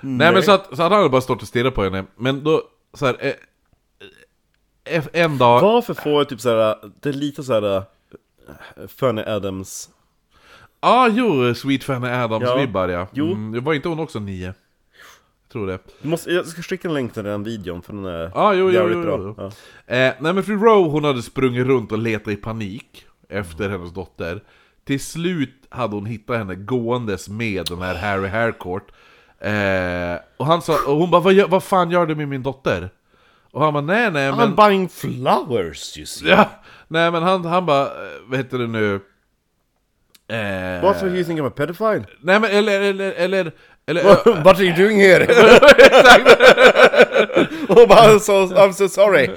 Nej men så att, så att han hade bara stått och stirrat på henne, men då så här, eh, eh, En dag... Varför får jag typ såhär, det är lite såhär äh, Fanny Adams Ja, ah, jo, Sweet Fanny Adams-vibbar ja. Jo. Mm, det var inte hon också nio? Jag tror det. du måste, Jag ska skicka en länk till den videon för den är Ja, Ah, jo, jo, jävligt jo, bra jo. Ja. Eh, nej men fru Rowe hon hade sprungit runt och letat i panik efter hennes dotter. Till slut hade hon hittat henne gåendes med den här Harry Harcourt. Eh, och, han sa, och hon bara vad, gör, vad fan gör du med min dotter? Och han bara nej nej men... I'm buying flowers you see ja, nej men han, han bara, eh, vad heter det nu? Eh, Varför you think I'm a pedophile? Nej men eller, eller, eller, eller What are you doing here? Hon bara, I'm so, I'm so sorry!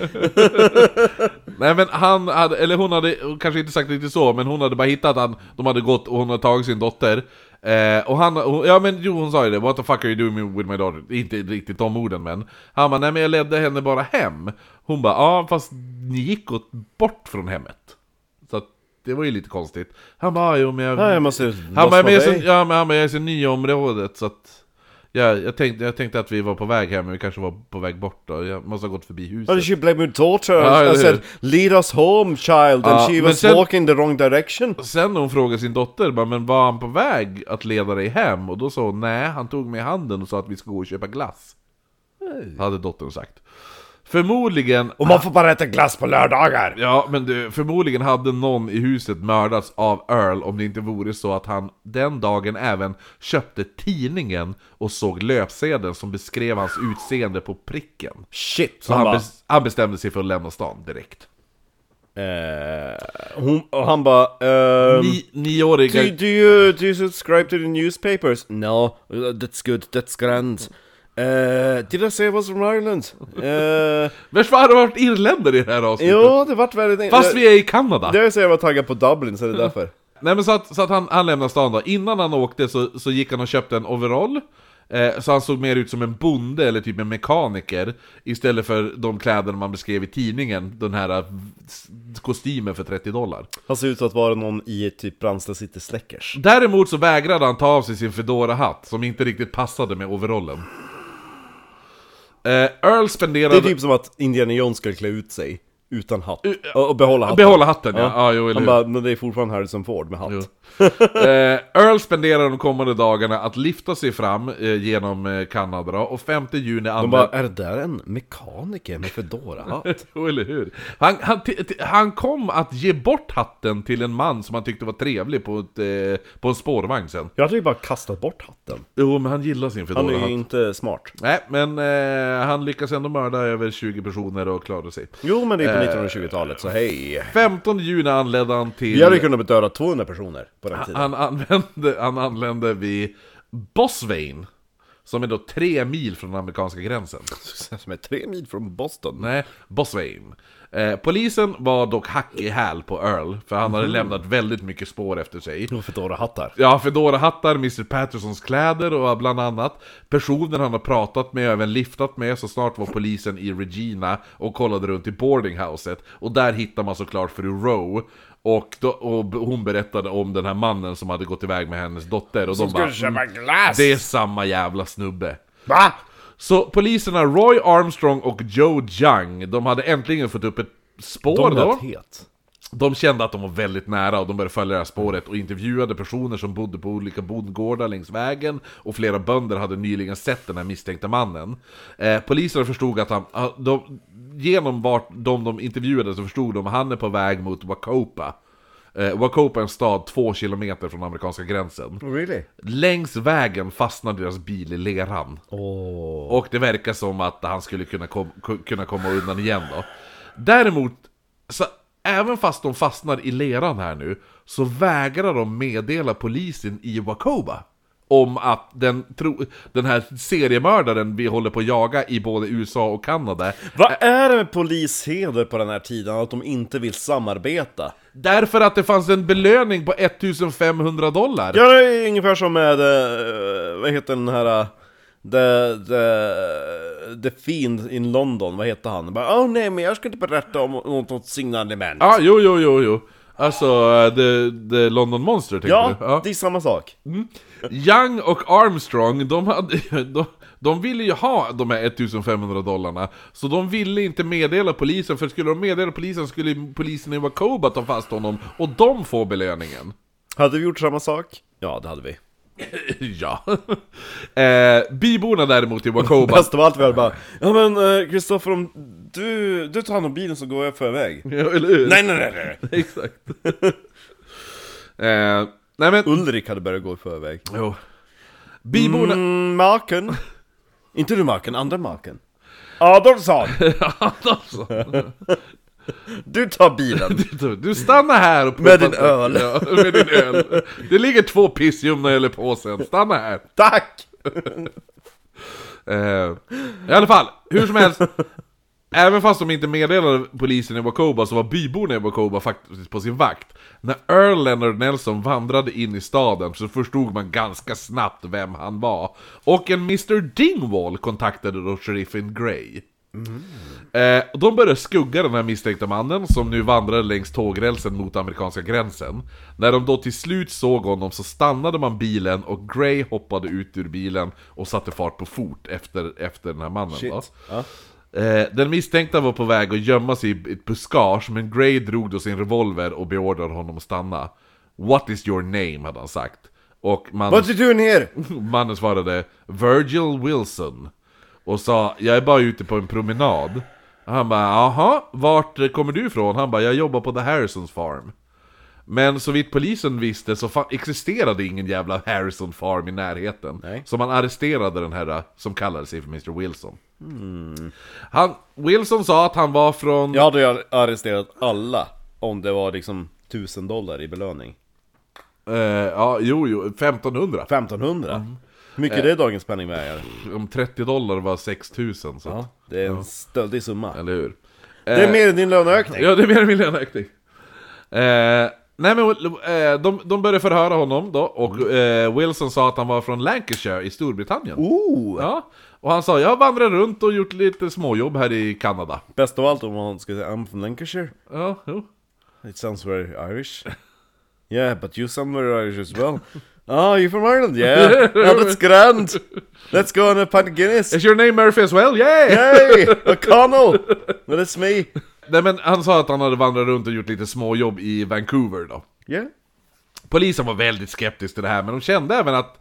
Nej men han hade, eller hon hade, hon kanske inte sagt riktigt så, men hon hade bara hittat han, de hade gått och hon hade tagit sin dotter. Eh, och han, hon, ja men jo hon sa ju det, what the fuck are you doing with my daughter? Inte riktigt de orden men. Han bara, nej men jag ledde henne bara hem. Hon bara, ja fast ni gick åt, bort från hemmet. Så att, det var ju lite konstigt. Han bara, "Ja, jo men jag... Nej, jag måste han bara, men jag, är så, dig. ja, men han bara, jag är så ny i området så att... Ja, jag, tänkte, jag tänkte att vi var på väg hem, men vi kanske var på väg bort då. Jag måste ha gått förbi huset. But she blamed my daughter. Ja, ja, I said, ja. lead us home child, Ja, and she men was sen- walking the wrong direction. Sen när hon frågade sin dotter, bara, men var han på väg att leda dig hem? Och då sa hon nej, han tog mig i handen och sa att vi ska gå och köpa glass. Hade dottern sagt. Förmodligen, Och man får bara äta glass på lördagar! ja men du, förmodligen hade någon i huset mördats av Earl om det inte vore så att han den dagen även köpte tidningen och såg löpsedeln som beskrev hans utseende på pricken. Shit! Så han han, bara, bes- han bestämde sig för att lämna stan direkt. eh, hon, och han bara, ehm... Ni, nioåriga... Do, do you do you subscribe to the newspapers? No, Uh, that's good. That's grand. Uh, did I say I was from Ireland? Uh, Varför har det varit irländare i det här avsnittet? jo, det vart väldigt... Fast vi är i Kanada! Det är så jag var taggad på Dublin, så det är därför. Nej men så att, så att han, han lämnade stan då, innan han åkte så, så gick han och köpte en overall eh, Så han såg mer ut som en bonde eller typ en mekaniker Istället för de kläder man beskrev i tidningen, den här eh, s- kostymen för 30 dollar Han ser ut att vara någon i typ Brandsta City Släckers. Däremot så vägrade han ta av sig sin Fedora-hatt som inte riktigt passade med overallen eh, Earl Det är spenderade... typ som att Indiana Jones skulle klä ut sig utan hatt. Och, och behålla hatten. Behålla hatten, ja. Ja, jo, eller Han hur. bara, men det är fortfarande Harrison Ford med hatt. Jo. Eh, Earl spenderar de kommande dagarna att lyfta sig fram eh, genom eh, Kanada då, och 5 juni anmälde... De bara, är det där en mekaniker med Fedora-hatt? Jo, eller hur? Han, han, t- t- han kom att ge bort hatten till en man som han tyckte var trevlig på, ett, eh, på en spårvagn sen. Jag hade ju bara kastat bort hatten. Jo, men han gillar sin Han är ju Fedora-hatt. inte smart. Nej, men eh, han lyckas ändå mörda över 20 personer och klarade sig. Jo, men det är på 1920-talet, så hej. 15 juni anlände han till... Vi hade kunnat döda 200 personer på den tiden. han, använde, han anlände vid Bosvain, som är då tre mil från amerikanska gränsen. Som är tre mil från Boston. Nej, Boswain. Eh, polisen var dock hack i häl på Earl, för han Mhm. hade lämnat väldigt mycket spår efter sig. Och Fedora-hattar. Ja, Fedora-hattar, Mr Pattersons kläder och bland annat personer han har pratat med och även liftat med, så snart var polisen i Regina och kollade runt i boardinghouset. Och där hittar man såklart fru Rowe. Och, då, och b- hon berättade om den här mannen som hade gått iväg med hennes dotter och de bara "Mm, glass! Det är samma jävla snubbe. Va? Så poliserna Roy Armstrong och Joe Jung, de hade äntligen fått upp ett spår De då. lät het. De kände att de var väldigt nära och de började följa det här spåret och intervjuade personer som bodde på olika bondgårdar längs vägen och flera bönder hade nyligen sett den här misstänkta mannen. Eh, poliserna förstod att han, ah, de, genom vart de, de intervjuade så förstod de att han är på väg mot Wacopa. Eh, Wacopa är en stad två kilometer från amerikanska gränsen. Really? Längs vägen fastnade deras bil i leran. Och det verkar som att han skulle kunna, kom, ku- kunna komma undan igen då. Däremot, så även fast de fastnar i leran här nu, så vägrar de meddela polisen i Wakoba om att den, tro, den här seriemördaren vi håller på att jaga i både USA och Kanada Vad är det med polisheder på den här tiden, att de inte vill samarbeta? Därför att det fanns en belöning på 1500 dollar! Ja, det är ungefär som med, eh, vad heter den här... eh, The, the, the Fiend in London, vad heter han? Bara, Åh nej, men jag ska inte berätta om något, något signalement. Ja, jo, jo, jo, jo. Alltså, eh, the, the London Monster tänker Ja, det du? är samma sak. Young och Armstrong, de, hade, de, de ville ju ha de här 1500 dollarna Så de ville inte meddela polisen, för skulle de meddela polisen skulle ju polisen i Wacoba ta fast honom Och de får belöningen Hade vi gjort samma sak? Ja, det hade vi. Ja eh, Byborna däremot i Wacoba Bäst av allt vi hade bara, ja men eh, Kristoffer om du, du tar hand om bilen så går jag för iväg. Ja, eller hur? Nej, nej, nej, nej. Exakt eh, Nej men, Ulrik hade börjat gå i förväg. jo Byborna, Mm, maken. Inte du maken, andra maken. Adolfsson, Adolfsson du tar bilen. Alltså, Du- Du stannar här och Med pumpar- din öl. Ja, med din öl. Det ligger två pissljumna i ölpåsen, stanna här. Tack! Eh, I alla fall, hur som helst. Även fast de inte meddelade polisen i Wacoba så var byborna i Wacoba faktiskt på sin vakt. När Earl Leonard Nelson vandrade in i staden så förstod man ganska snabbt vem han var. Och en Mr Dingwall kontaktade då sheriffen Grey. Eh, och de började skugga den här misstänkta mannen som nu vandrade längs tågrälsen mot amerikanska gränsen. När de då till slut såg honom så stannade man bilen och Gray hoppade ut ur bilen och satte fart på fort efter, efter den här mannen då. Eh, den misstänkta var på väg att gömma sig i ett buskage men Gray drog då sin revolver och beordrade honom att stanna. What is your name? hade han sagt. Och mannen What you doing here? Mannen svarade Virgil Wilson och sa jag är bara ute på en promenad. Han bara jaha, vart kommer du ifrån? Han bara jag jobbar på The Harrisons Farm. Men så vitt polisen visste så fa- existerade ingen jävla Harrison Farm i närheten. Nej. Så man arresterade den här äh, som kallade sig för Mr Wilson. Han, Wilson sa att han var från... Jag hade ju arresterat alla om det var liksom 1000 dollar i belöning. Eh, ja jo, jo, 1500. 1500? Hur mycket är det i dagens penningvärde? Om 30 dollar var 6000 så... att- Det är en stöldig summa. Eller hur? Det är mer än din löneökning. Eh. Ja, det är mer än min löneökning. Eh, nej men eh, de, de började förhöra honom då, och eh, Wilson sa att han var från Lancashire i Storbritannien. Oh. Ja, och han sa jag vandrar runt och gjort lite småjobb här i Kanada. Bäst av allt om man ska säga I'm from Lancashire. Ja, jo. It sounds very Irish. Yeah, but you sound very Irish as well. Ah, you from Ireland? Yeah. yeah, that's grand. Let's go on a pint of Guinness. Is your name Murphy as well? Yay! Hey, O'Connell. Well, it's me. Nej men han sa att han hade vandrat runt och gjort lite småjobb i Vancouver då. Yeah. Polisen var väldigt skeptisk till det här, men de kände även att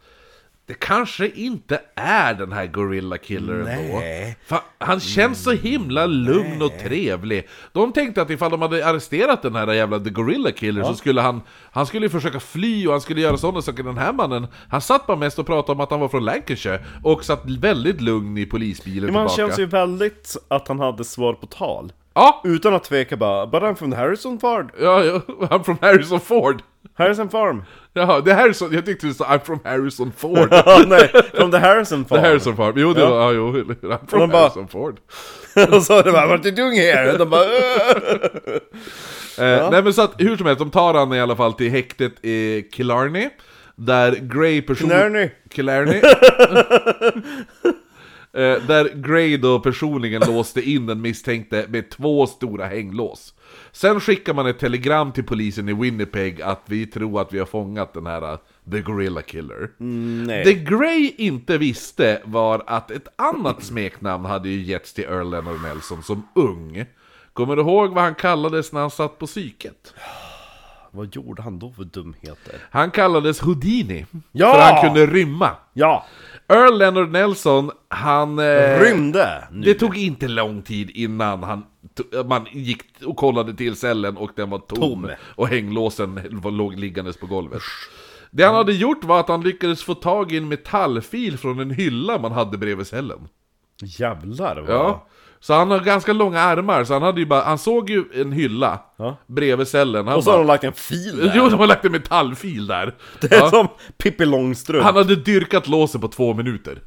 det kanske inte är den här Gorilla Killer ändå. Nej. Mm, Fan, han känns så himla lugn och trevlig. De tänkte att ifall de hade arresterat den här jävla The Gorilla Killer så skulle han, han skulle ju försöka fly och han skulle göra sådana saker. Den här mannen, han satt bara mest och pratade om att han var från Lancashire och satt väldigt lugn i polisbilen Men han tillbaka. känns ju väldigt att han hade svar på tal. Ja! Utan att tveka bara, but I'm from Harrison Farm. Ja, ja, I'm from Harrison Ford! Harrison Farm. Jaha, det är Harrison, jag tyckte du sa I'm from Harrison Ford! Ja, Ah, nej, from the Harrison Farm. The Harrison Ford, jo det Ja. var, ja jo, I'm Och de from bara- Harrison Ford. Och så är det bara, what are you doing here? De bara, "Äh." Eh, Nej men så att, hur som helst, de tar han i alla fall till häktet i Killarney. Där Grey person... Killarney. Killarney. Eh, där Grey då personligen låste in den misstänkte med två stora hänglås. Sen skickar man ett telegram till polisen i Winnipeg att vi tror att vi har fångat den här eh, The Gorilla Killer. nej. Det Grey inte visste var att ett annat smeknamn hade ju getts till Earl Leonard Nelson som ung. Kommer du ihåg vad han kallades när han satt på psyket? Vad gjorde han då för dumheter? Han kallades Houdini, Ja! för han kunde rymma. Ja, Earl Leonard Nelson, han... eh, rymde! Nu. Det tog inte lång tid innan han, to- man gick och kollade till cellen och den var tom, Tom. och hänglåsen var- låg liggandes på golvet. Det han hade gjort var att han lyckades få tag i en metallfil från en hylla man hade bredvid cellen. Jävlar vad... Ja. Så han har ganska långa armar, så han hade ju bara, han såg ju en hylla Ja. bredvid cellen. Han Och så har bara, de lagt en fil där. Jo, de har lagt en metallfil där. Det är Ja. som Pippi Långstrump. Han hade dyrkat låset på två minuter.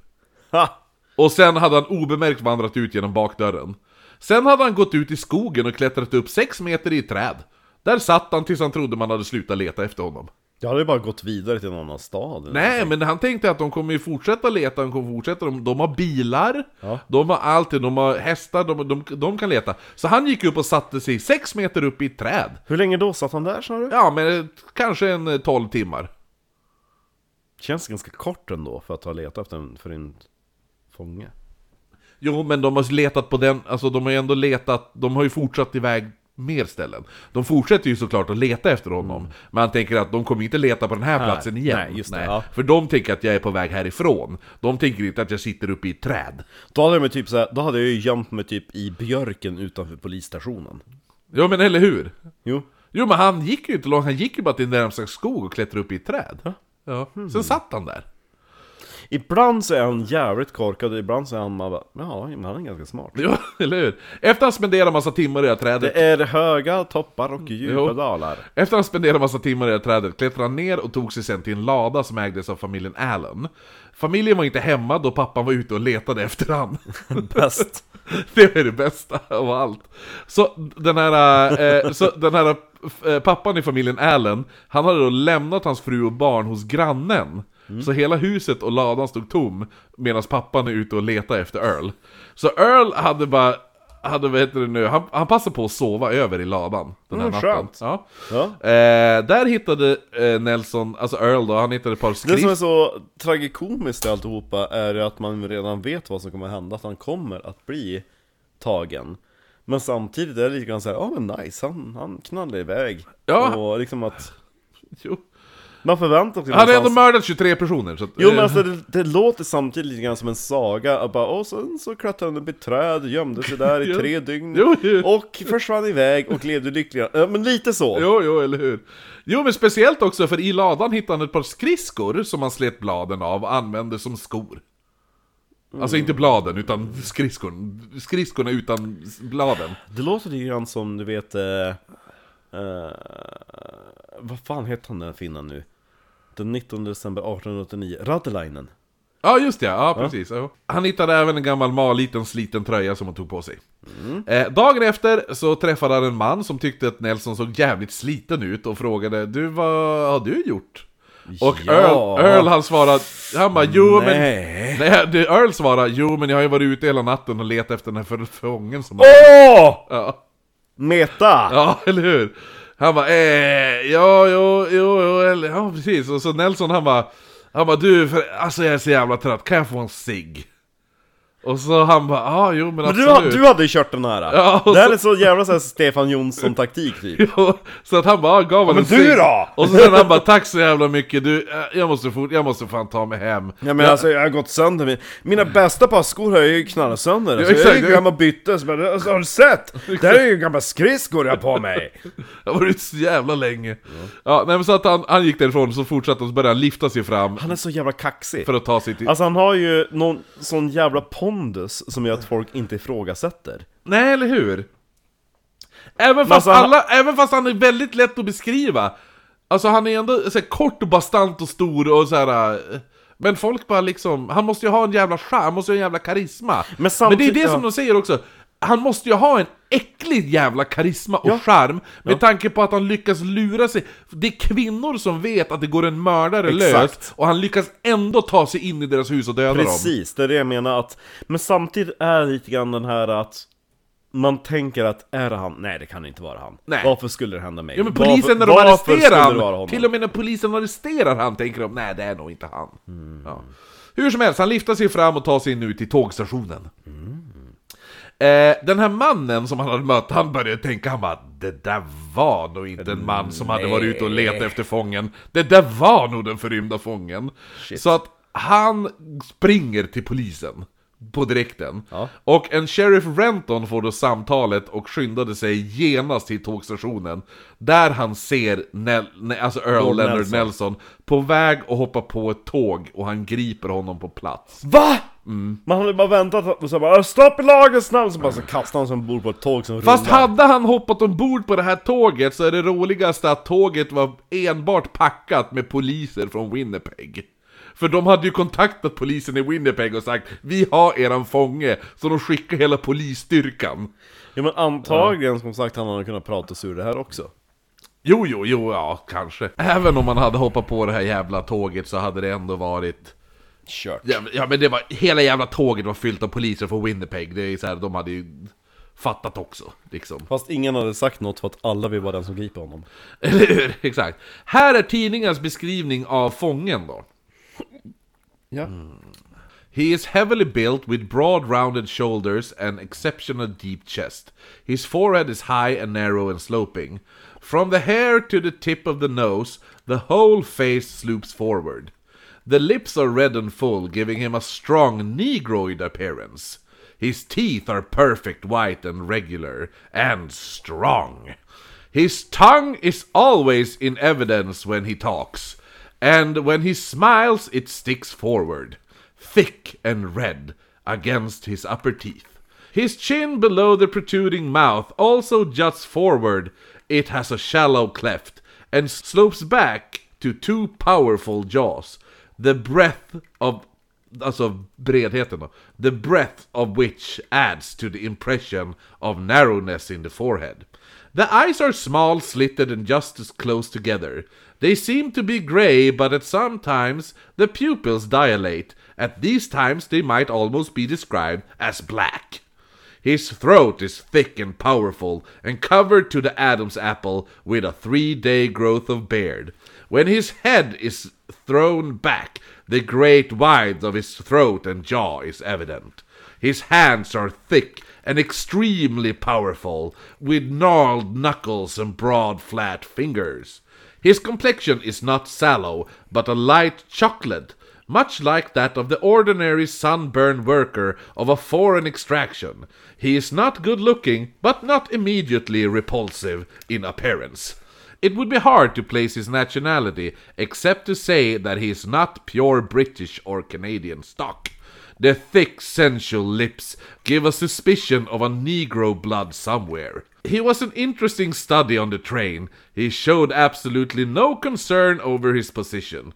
Ha. Och sen hade han obemärkt vandrat ut genom bakdörren. Sen hade han gått ut i skogen och klättrat upp sex meter i ett träd. Där satt han tills han trodde man hade slutat leta efter honom. Jag hade ju bara gått vidare till en annan stad. eller Nej, men han tänkte att de kommer ju fortsätta leta, de kommer fortsätta, de, de har bilar, Ja. de har allt, de har hästar, de, de, de kan leta. Så han gick upp och satte sig sex meter upp i ett träd. Hur länge då satt han där sa du? Ja, men eh, kanske en eh, 12 timmar. Känns ganska kort ändå för att ha letat efter en förrymd fånge. Jo, men de har letat på den, alltså de har ju ändå letat, de har ju fortsatt iväg mer ställen. De fortsätter ju såklart att leta efter honom, men han tänker att de kommer inte leta på den här platsen igen. Mm. nej, just det, ja. För de tänker att jag är på väg härifrån. De tänker inte att jag sitter uppe i ett träd. Då hade, jag mig typ så här, då hade jag ju gömt mig typ i björken utanför polisstationen. Ja, men eller hur? Jo. Jo, men han gick ju inte långt, han gick ju bara till närmsta skog och klättrade upp i ett träd. Ja. Hmm. Sen satt han där. Ibland så är han jävligt korkad och ibland så är han man bara, ja, men han är ganska smart. Ja, eller hur? Efter han spenderar massa timmar i det här trädet Det är höga toppar och djupa Jo. dalar. Efter att han spenderat massa timmar i det här trädet klättrade han ner och tog sig sen till en lada som ägdes av familjen Allen. Familjen var inte hemma då pappan var ute och letade efter han. Bäst. Det är det bästa av allt. Så den här, eh, så den här eh, pappan i familjen Allen, han hade då lämnat hans fru och barn hos grannen. Mm. Så hela huset och ladan stod tom medan pappan är ute och letar efter Earl. Så Earl hade bara, hade, vad heter det nu, han, han passade på att sova över i ladan den här Mm, natten. skönt. Ja. Ja. Eh, där hittade eh, Nelson, alltså Earl då, han hittade ett par Det som är skrift... så tragikomiskt i alltihopa är att man redan vet vad som kommer hända, att han kommer att bli tagen. Men samtidigt är det lite grann såhär, ja ah, men nice, han, han knallar iväg. Ja. Och liksom att Jo. man förväntar sig Han hade ändå någonstans- mördat 23 personer, så att, Jo men eh, alltså det, det låter samtidigt lite grann som en saga, att bara, och sen så klättrade han upp i ett träd, gömde sig där i Jo. tre dygn Jo, jo. Och försvann iväg och levde lyckliga, ja men lite så! Jo, jo, eller hur? Jo, men speciellt också för i ladan hittade han ett par skridskor som han slet bladen av och använde som skor. Alltså inte bladen, utan skridskon. Skridskorna utan s- bladen. Det låter lite grann som, du vet... Eh, eh, vad fan heter han den här finnen nu? Den 19 december 1889, Radelainen Ja, just det, ja, precis. Ja. Han hittade även en gammal maliten sliten tröja som han tog på sig. Mm. Eh, dagen efter så träffade han en man som tyckte att Nelson såg jävligt sliten ut och frågade Du, vad har du gjort? Och Ja. Earl, Earl han svarade, han bara jo men... Nej. Nej, det- Earl svarade jo men jag har ju varit ute hela natten och letat efter den här förfången som... Åh! Ja. Meta! Ja, eller hur? Han bara eh, ja, jo, jo, jo, eller, ja precis. Och så Nelson han bara, han bara du, för, alltså jag är så jävla trött, kan jag få en cigg? Och så han bara, ja, ah, jo men, Men du, ha- absolut. du hade ju kört den här! Ja, och det här så- är så jävla så här Stefan Jonsson-taktik typ Jo, så att han bara, ah, gav honom men du en cigg. då? Och så sen han bara, tack så jävla mycket, du, eh, jag måste, fort, jag måste fan ta mig hem. Ja men alltså jag har gått sönder, min- mina bästa par skor har jag ju knallat sönder alltså, exakt. Jag gick hem och bytte, så bara, alltså, har du sett? Det här är ju gamla skridskor jag har på mig! Jag har varit ute så jävla länge. Ja, nej, men så att han, han gick därifrån, så fortsatte han, så började han lyfta sig fram Han är så jävla kaxig! för att ta sig till... Alltså han har ju någon sån jävla pondus som gör att folk inte ifrågasätter Nej, eller hur? Även fast, alltså, han- alla, även fast han är väldigt lätt att beskriva Alltså han är ändå så här, kort och bastant och stor och så här. eh, Men folk bara liksom, han måste ju ha en jävla charm, han måste ju ha en jävla karisma Men, det samtidigt- är det som ja. de säger också han måste ju ha en äcklig jävla karisma och charm Med tanke på att han lyckas lura sig Det är kvinnor som vet att det går en mördare Exakt. lös Och han lyckas ändå ta sig in i deras hus och döda dem Precis, det är det jag menar att Men samtidigt är det lite grann den här att man tänker att är det han? Nej det kan inte vara han Nej. Varför skulle det hända mig? Ja men polisen när de varför skulle arresterar det vara honom? han, till och med när polisen arresterar han tänker de nej det är nog inte han. Mm. Ja. Hur som helst, han lyfter sig fram och tar sig nu till tågstationen. Eh, den här mannen som han hade mött, han började tänka, han bara, det där var nog inte en man som hade varit ute och letat efter fången. Det där var nog den förrymda fången. Så att han springer till polisen på direkten. Ja. Och en sheriff Renton får då samtalet och skyndade sig genast till tågstationen. Där han ser Nel- ne- alltså Earl Lord Leonard Nelson. Nelson på väg att hoppa på ett tåg och han griper honom på plats. VA? Mm. Man hade bara väntat och så bara 'Stopp i lagens namn!' Så bara så kastade han sig ombord på ett tåg som Fast rullar. hade han hoppat ombord på det här tåget så är det roligaste att tåget var enbart packat med poliser från Winnipeg. För de hade ju kontaktat polisen i Winnipeg och sagt Vi har eran fånge, så de skickar hela polisstyrkan. Ja men antagligen som sagt han hade kunnat prata sig ur det här också. Jo, jo, jo, ja, kanske. Även om man hade hoppat på det här jävla tåget så hade det ändå varit... Kört. Ja, men- ja men det var... Hela jävla tåget var fyllt av poliser från Winnipeg. Det är så här, de hade ju fattat också, liksom. Fast ingen hade sagt något för att alla vill vara den som griper honom. Eller hur? Exakt. Här är tidningens beskrivning av fången då. Ja. He is heavily built with broad rounded shoulders and exceptional deep chest. His forehead is high and narrow and sloping. From the hair to the tip of the nose, the whole face slopes forward. The lips are red and full, giving him a strong negroid appearance. His teeth are perfect white and regular and strong. His tongue is always in evidence when he talks, and when he smiles, it sticks forward, thick and red, against his upper teeth. His chin below the protruding mouth also juts forward, it has a shallow cleft, and slopes back to two powerful jaws, the breadth of Alltså bredheten då. The breadth of which adds to the impression of narrowness in the forehead. The eyes are small, slitted and just as close together. They seem to be grey, but at some times the pupils dilate. At these times they might almost be described as black. His throat is thick and powerful, and covered to the Adam's apple with a three day growth of beard. When his head is thrown back, the great width of his throat and jaw is evident. His hands are thick and extremely powerful, with gnarled knuckles and broad flat fingers. His complexion is not sallow, but a light chocolate, much like that of the ordinary sunburned worker of a foreign extraction. He is not good looking, but not immediately repulsive in appearance. It would be hard to place his nationality, except to say that he is not pure British or Canadian stock. The thick, sensual lips give a suspicion of a Negro blood somewhere. He was an interesting study on the train. He showed absolutely no concern over his position.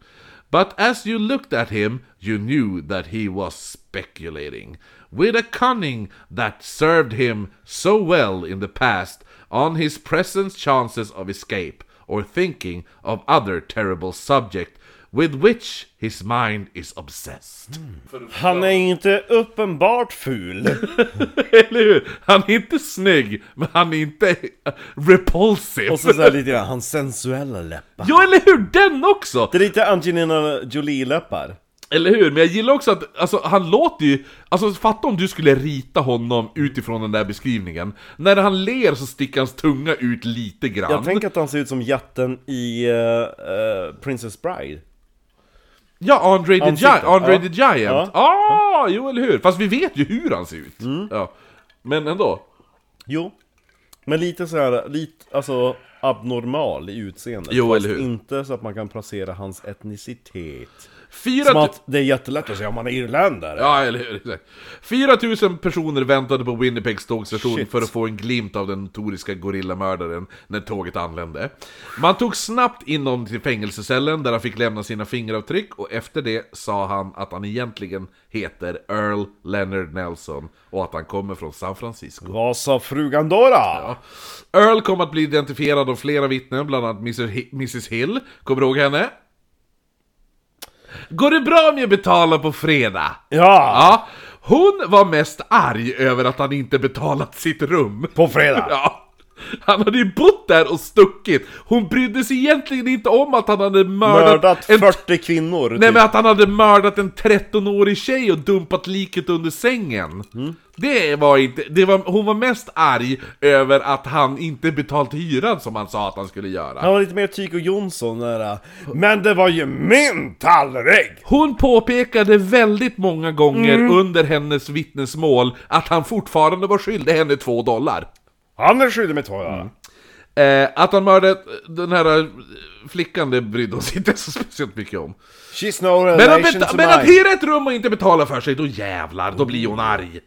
But as you looked at him, you knew that he was speculating, with a cunning that served him so well in the past, on his present chances of escape, or thinking of other terrible subject with which his mind is obsessed. Han är inte uppenbart ful. Eller hur? Han är inte snygg, men han är inte repulsive. Och så, så här lite grann, hans sensuella läppar. Ja, eller hur? Den också! Det är lite Angelina Jolie-läppar. Eller hur? Men jag gillar också att, alltså han låter ju... Alltså fatta om du skulle rita honom utifrån den där beskrivningen. När han ler så sticker hans tunga ut lite grann. Jag tänker att han ser ut som jätten i eh, eh, Princess Bride. Ja, Andre the, Ansiktet, Gi- Andre ja. the Giant! Ja. Mm. Ah, jo eller hur! Fast vi vet ju hur han ser ut! Ja. Men ändå. Jo. Men lite så här, lite, alltså abnormal i utseendet. Jo, Fast eller hur? inte så att man kan placera hans etnicitet. Fyra Som tu- att det är jättelätt att säga om man är irländare. Ja, eller hur? Exakt. 4000 personer väntade på Winnipegs tågstation Shit. för att få en glimt av den notoriska gorillamördaren när tåget anlände. Man tog snabbt in honom till fängelsecellen där han fick lämna sina fingeravtryck och efter det sa han att han egentligen heter Earl Leonard Nelson och att han kommer från San Francisco. Vad sa frugan Dora? Earl kommer att bli identifierad av flera vittnen, bland annat Mr. Hi- Mrs Hill. Kommer du ihåg henne? Går det bra om jag betalar på fredag? Ja. Ja, hon var mest arg över att han inte betalat sitt rum. På fredag. Ja. Han hade ju bott där och stuckit. Hon brydde sig egentligen inte om att han hade mördat, Mördat en 40 kvinnor. Nej typ. men att han hade mördat en 13-årig tjej och dumpat liket under sängen. Mm. Det var inte... Det var, hon var mest arg över att han inte betalt hyran som han sa att han skulle göra. Han var lite mer Tycho Jonsson nära. Men det var ju min tallrik! Hon påpekade väldigt många gånger Mm. under hennes vittnesmål att han fortfarande var skyldig henne två dollar. Mm. Han är skyldig med två dollar. Eh, att han mördade den här eh, flickan, det brydde hon sig inte så speciellt mycket om. She's no Men att, relation beta- to men att mine. hyra ett rum och inte betala för sig, då jävlar, då blir hon arg.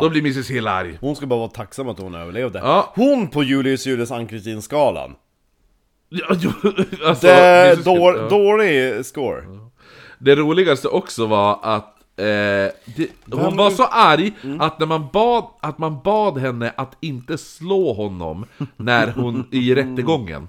Då blir Mrs Hill arg. Hon ska bara vara tacksam att hon överlevde. Ja. Hon på Julius Julius Ann-Kristin-skalan. Ja, jo, alltså, Det Mrs. Hill, då, ja. dålig score. Det roligaste också var att eh, det, hon var så arg Mm. att när man bad, att man bad henne att inte slå honom när hon i rättegången.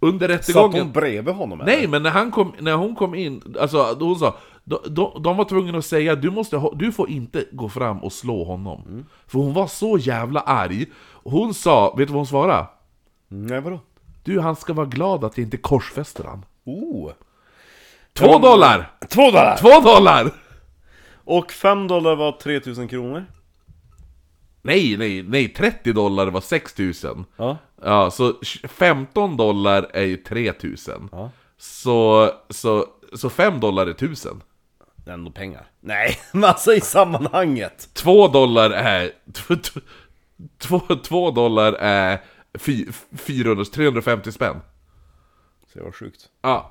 Under Mm. Satt rättegången. hon bredvid honom eller? Nej, men när, han kom, när hon kom in, alltså då hon sa de, de, de var tvungna att säga du, måste, ha- du får inte gå fram och slå honom. För hon var så jävla arg. Hon sa, vet du vad hon svarade? Mm, Nej vadå? Du, han ska vara glad att jag inte korsfäster han. Oh. Två dollar! Två dollar! Två dollar! Och fem dollar var 3000 kronor. Nej, nej, nej, 30 dollar var 6 000. Ja. Ja, så 15 dollar är ju 3 000. Så, så, så 5 dollar är 1000. Det är ändå pengar. Nej, men alltså i sammanhanget. 2 dollar är... 2, 2 dollar är fy- 400, 350 spänn. Så det var sjukt. Ja,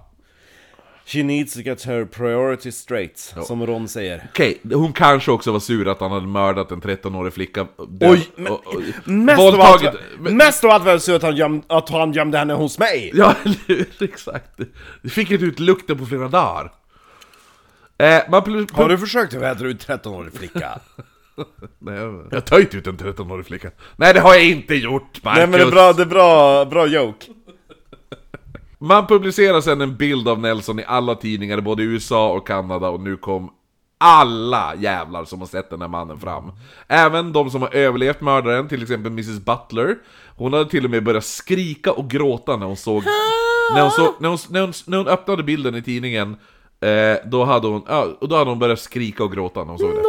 She needs to get her priorities straight, som Ron säger. okej. Hon kanske också var sur att han hade mördat en 13-årig flicka. Oj, men- Mest av, allt, våldtagit. men- mest av allt var det så att han, göm, att han gömde henne hos mig! Ja, eller hur? exakt. Vi fick inte ut lukten på flera dagar. Eh, man pl- pl- Har du försökt vädra ut 13-årig flicka? Nej, jag- jag har töjt ut en 13-årig flicka. Nej, det har jag inte gjort, Marcus. Nej men det är bra, det är bra, bra joke. Man publicerar sen en bild av Nelson i alla tidningar, både i USA och Kanada, och nu kom alla jävlar som har sett den här mannen fram. Även de som har överlevt mördaren, till exempel Mrs Butler. Hon hade till och med börjat skrika och gråta när hon såg... När hon, såg, när hon, när hon, när hon öppnade bilden i tidningen, eh, då, hade hon, ja, och då hade hon börjat skrika och gråta när hon såg det.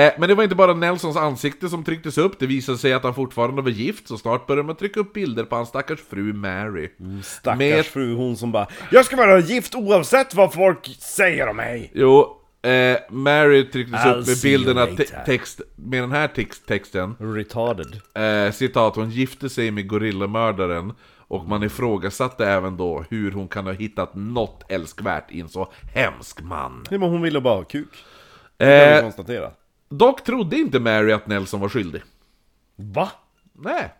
Eh, Men det var inte bara Nelsons ansikte som trycktes upp, det visade sig att han fortfarande var gift, så snart började man trycka upp bilder på hans stackars fru Mary. Stackars Med- fru, hon som bara Jag ska vara gift oavsett vad folk säger om mig! Jo, eh, Mary trycktes I'll upp med see bilden you att later. te- text, med den här text, texten, Retarded. eh, citat, hon gifte sig med gorillamördaren och man ifrågasatte även då hur hon kan ha hittat något älskvärt i en så hemsk man. Nej men hon ville bara ha kuk. Kan vi Eh, konstatera. dock trodde inte Mary att Nelson var skyldig. Va? Nej.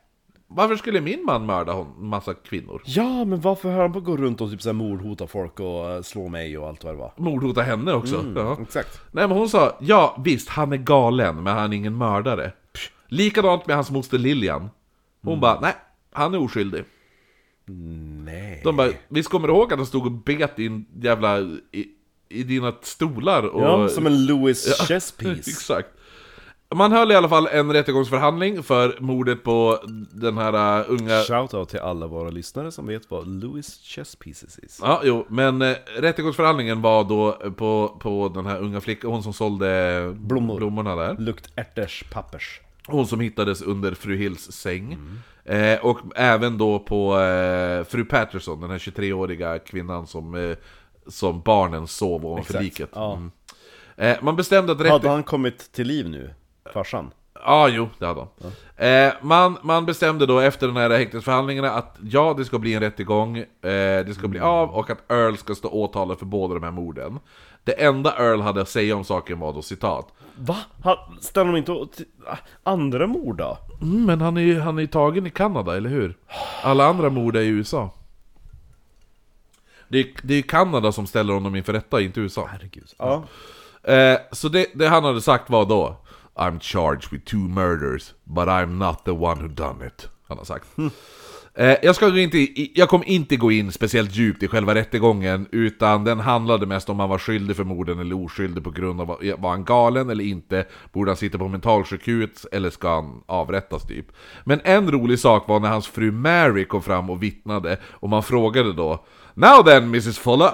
Varför skulle min man mörda hon, massa kvinnor? Ja men varför hör han på att gå runt och typ såhär mordhota folk och eh, slå mig och allt vad det var? mordhota henne också. ja. exakt. Nej men hon sa, ja visst han är galen men han är ingen mördare. Psh. Likadant med hans moster Lilian. Hon Mm. bara, nej han är oskyldig. Nej. De bara, visst kommer du ihåg att han stod och bet i en jävla, i, i dina stolar? Och... Ja, som en Louis chess piece. Exakt. Man höll i alla fall en rättegångsförhandling för mordet på den här äh, unga... Shoutout till alla våra lyssnare som vet vad Louis chess pieces is. Ja, jo, men eh, rättegångsförhandlingen var då eh, på, på den här unga flickan, hon som sålde Blommor. blommorna där. Lukt ärters pappers. Hon som hittades under fru Hills säng. Mm. Eh, och även då på eh, fru Patterson, den här 23-åriga kvinnan som, eh, som barnen sov ovanför Exakt, liket. ja. Mm. Eh, man bestämde att rätt... Hade han kommit till liv nu, farsan? Ja, jo, det hade han. Eh, man, man bestämde då efter den här häktesförhandlingarna att ja, det ska bli en rättegång, eh, det ska bli Mm. av och att Earl ska stå åtalad för båda de här morden. Det enda Earl hade att säga om saken var då citat. Va? Han, ställer de inte och- t- ah, Andra mord då? Mm, men han är ju han är ju tagen i Kanada, eller hur? Alla andra mord är i USA. Det är, det är ju Kanada som ställer honom inför rätta, inte USA. Herregud. Ja. Eh, så det, det han hade sagt var då I'm charged with two murders, but I'm not the one who done it. Han har sagt. Eh, jag, ska gå inte, i- jag kommer inte gå in speciellt djupt i själva rättegången, utan den handlade mest om han var skyldig för morden eller oskyldig på grund av, var han galen eller inte, borde han sitta på mentalsjukhus eller ska han avrättas typ? Men en rolig sak var när hans fru Mary kom fram och vittnade, och man frågade då Now then Mrs Fuller,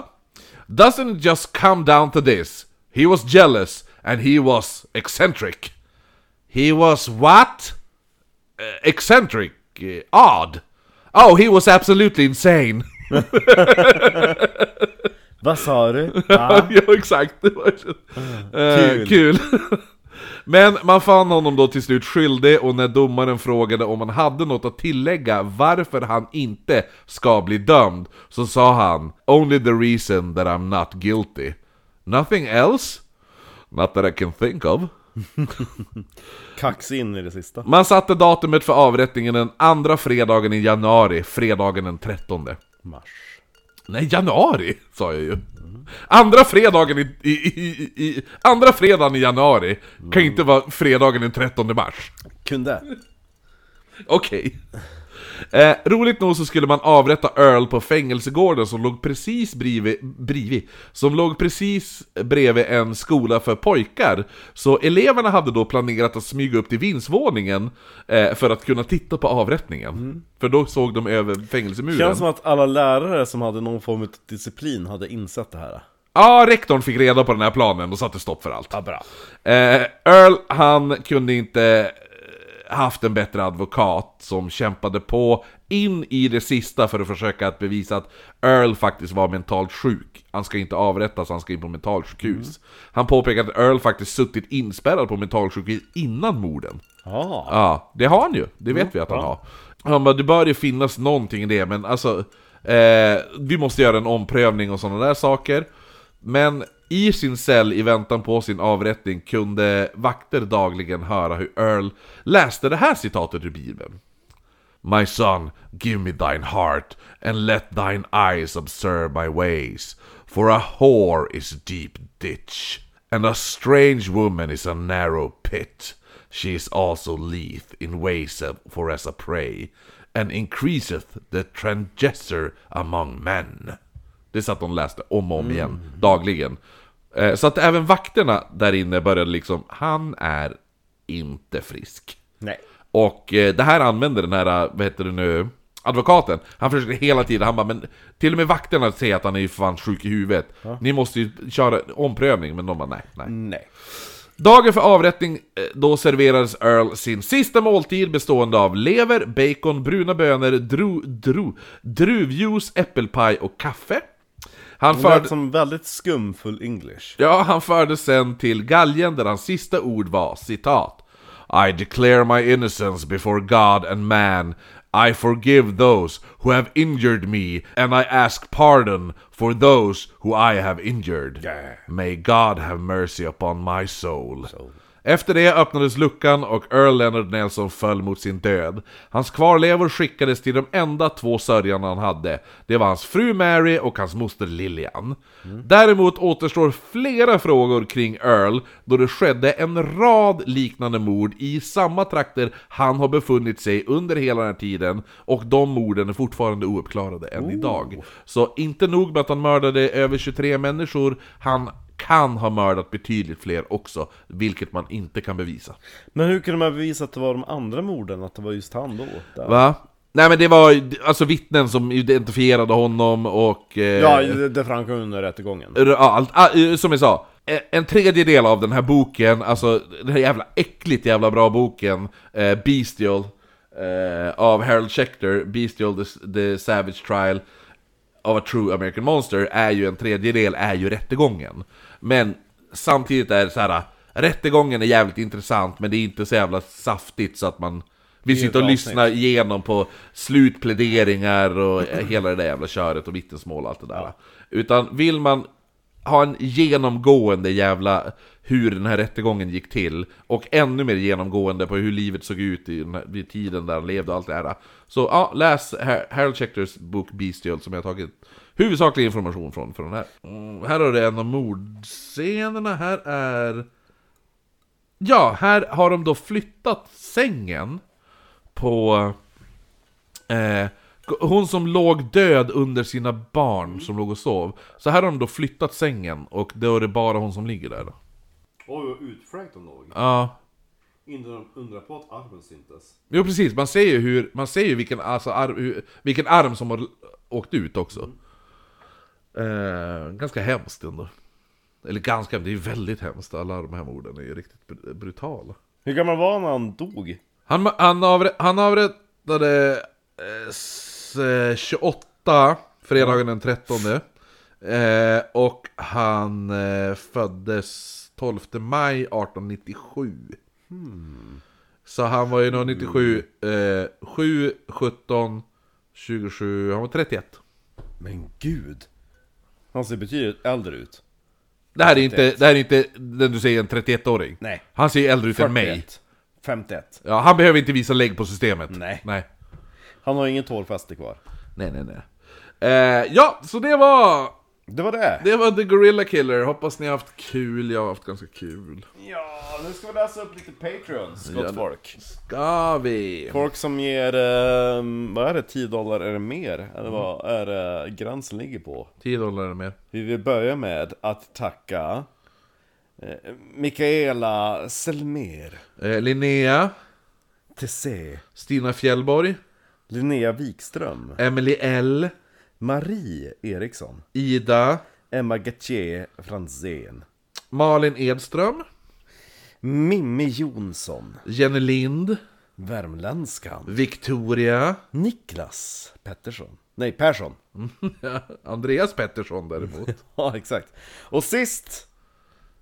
doesn't it just come down to this? He was jealous and he was eccentric. He was what? Eh, eccentric, eh, odd. Oh, he was absolutely insane. Vad sa du? Va? ja, exakt. Det var- Kul. Eh, kul. Men man fann honom då till slut skyldig och när domaren frågade om han hade något att tillägga varför han inte ska bli dömd så sa han “Only the reason that I'm not guilty. Nothing else? Not that I can think of.” Kax in i det sista. Man satte datumet för avrättningen den andra fredagen i januari, fredagen den 13. Mars. Nej, januari sa jag ju. Andra fredagen i, i, i, i andra fredagen i januari kan inte vara fredagen den 13 mars. Kunde. Okej. Eh, roligt nog så skulle man avrätta Earl på fängelsegården som låg precis bredvid, bredvid, som låg precis bredvid en skola för pojkar. Så eleverna hade då planerat att smyga upp till vindsvåningen eh, för att kunna titta på avrättningen. För då såg de över fängelsemuren. Mm. Känns som att alla lärare som hade någon form av disciplin hade insett det här. Ja, rektorn fick reda på den här planen och satte stopp för allt. Ja, bra. Eh, Earl, han kunde inte eh, haft en bättre advokat som kämpade på in i det sista för att försöka att bevisa att Earl faktiskt var mentalt sjuk. Han ska inte avrättas, han ska in på mentalsjukhus. Han påpekade att Earl faktiskt suttit inspärrad på mentalsjukhus innan morden. Ja. Ja, det har han ju. Det vet vi att han har. Han bara, det bör ju finnas någonting i det, men alltså... Eh, vi måste göra en omprövning och sådana där saker. Men i sin cell i väntan på sin avrättning kunde vakter dagligen höra hur Earl läste det här citatet ur Bibeln. My son, give me thine heart, and let thine eyes observe my ways. For a whore is a deep ditch, and a strange woman is a narrow pit. She is also leath in ways of- for as a prey, and increaseth the transgressor among men. Det satt de och läste om och om igen, dagligen. Eh, Så att även vakterna där inne började liksom, han är inte frisk. Nej. Och eh, det här använder den här, eh, vad heter det nu, advokaten. Han försöker hela tiden, han bara men till och med vakterna säger att han är ju fan sjuk i huvudet. Ni måste ju köra omprövning, men de bara nej, nej. Nej. Dagen för avrättning, eh, då serverades Earl sin sista måltid bestående av lever, bacon, bruna bönor, dru, dru, druvjuice, äppelpaj och kaffe. Han Det förde... lät som väldigt skumfull English. Ja, han fördes sen till galgen där hans sista ord var citat I declare my innocence before God and man I forgive those who have injured me and I ask pardon for those who I have injured May God have mercy upon my soul efter det öppnades luckan och Earl Leonard Nelson föll mot sin död. Hans kvarlevor skickades till de enda två sörjarna han hade. Det var hans fru Mary och hans moster Lillian. Däremot återstår flera frågor kring Earl, då det skedde en rad liknande mord i samma trakter han har befunnit sig under hela den här tiden, och de morden är fortfarande ouppklarade än idag. Så inte nog med att han mördade över 23 människor, han kan ha mördat betydligt fler också, vilket man inte kan bevisa. Men hur kunde man bevisa att det var de andra morden, att det var just han då? Där. Va? Nej men det var ju- alltså vittnen som identifierade honom och... Eh, Ja, det det framkom under rättegången. r- ja, allt, ah, eh, som jag sa, eh, en tredjedel av den här boken, alltså den här jävla äckligt jävla bra boken, eh, Bestial, eh, av Harold Schechter, Bestial the, the Savage Trial of a True American Monster, är ju en tredjedel, är ju rättegången. Men samtidigt är det så här, rättegången är jävligt intressant, men det är inte så jävla saftigt så att man vill sitta och avsnitt. lyssna igenom på slutpläderingar och hela det där jävla köret och vittnesmål och allt det där. Utan vill man ha en genomgående jävla hur den här rättegången gick till och ännu mer genomgående på hur livet såg ut i den här, vid tiden där han levde och allt det här. Så ja, läs Har- Harold Schechters bok Bestial som jag har tagit huvudsaklig information från. från den här. Mm, här har du en av mordscenerna, här är... Ja, här har de då flyttat sängen på... Eh, hon som låg död under sina barn som låg och sov. Så här har de då flyttat sängen och då är det bara hon som ligger där. då. Oj, vad utfräkt de låg. Ja, Inte undra på att armen syntes. jo precis. Man ser ju, hur, man ser ju vilken, alltså, arm, hur, vilken arm som har l- åkt ut också. Eh, ganska hemskt ändå. Eller ganska, det är ju väldigt hemskt. Alla de här morden är ju riktigt br- brutala. Hur gammal var han när han dog? Han, han, avre, han avrättade eh, s- eh, 28 fredagen den 13 eh, och han eh, föddes 12 maj 1897. Hmm. Så han var ju nog 97, eh, 7, 17, 27, han var 31. Men gud! Han ser betydligt äldre ut. Det här är inte, det här är inte den du säger en 31-åring. Nej. Han ser ju äldre ut än mig. 41. 51. Ja, han behöver inte visa lägg på systemet. Nej. Nej, Han har inget hårfäste kvar. nej, nej. nej. Eh, ja, så det var, Det var det! det var The Gorilla Killer. Hoppas ni har haft kul, jag har haft ganska kul. Ja, nu ska vi läsa upp lite Patreons, gott folk. Ska vi? Folk som ger, eh, vad är det, 10 dollar eller mer? Eller vad är det gränsen ligger på? 10 dollar eller mer. Vi vill börja med att tacka eh, Mikaela Selmer, Eh, Linnea, TC, Stina Fjällborg, Linnea Wikström, Emily L, Marie Eriksson, Ida, Emma Gauthier Franzén, Malin Edström, Mimmi Jonsson, Jenny Lind, Värmländskan, Victoria, Niklas Pettersson, nej Persson, Andreas Pettersson däremot. ja exakt. Och sist,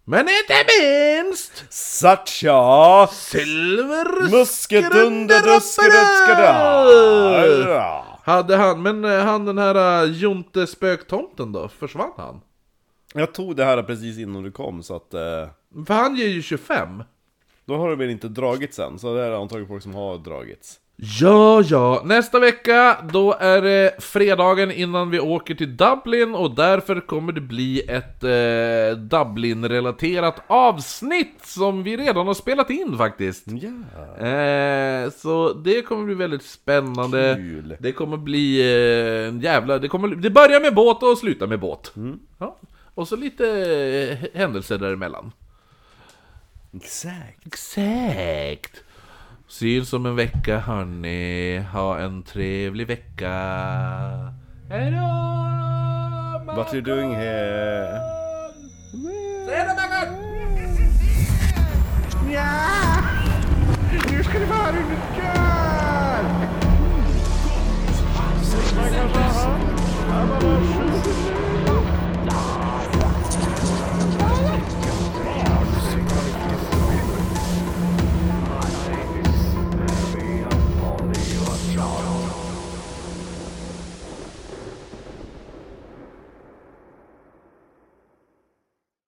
Men inte minst! Satcha Silver Muskedunderduskedutskeda! Hade han, men eh, han den här eh, Jonte Spöktomten då, försvann han? Jag tog det här precis innan du kom så att eh, För han ger ju 25. Då har det väl inte dragits än, så det är antagligen folk som har dragits Ja, ja. Nästa vecka, då är det fredagen innan vi åker till Dublin och därför kommer det bli ett eh, Dublin-relaterat avsnitt som vi redan har spelat in faktiskt. Ja, Eh, så det kommer bli väldigt spännande. Kul. Det kommer bli eh, en jävla... Det, kommer, det börjar med båt och slutar med båt. Mm. Ja. Och så lite eh, händelser däremellan. exakt Exakt! Syns om en vecka hörni. Ha en trevlig vecka. Hejdå! What you doing here?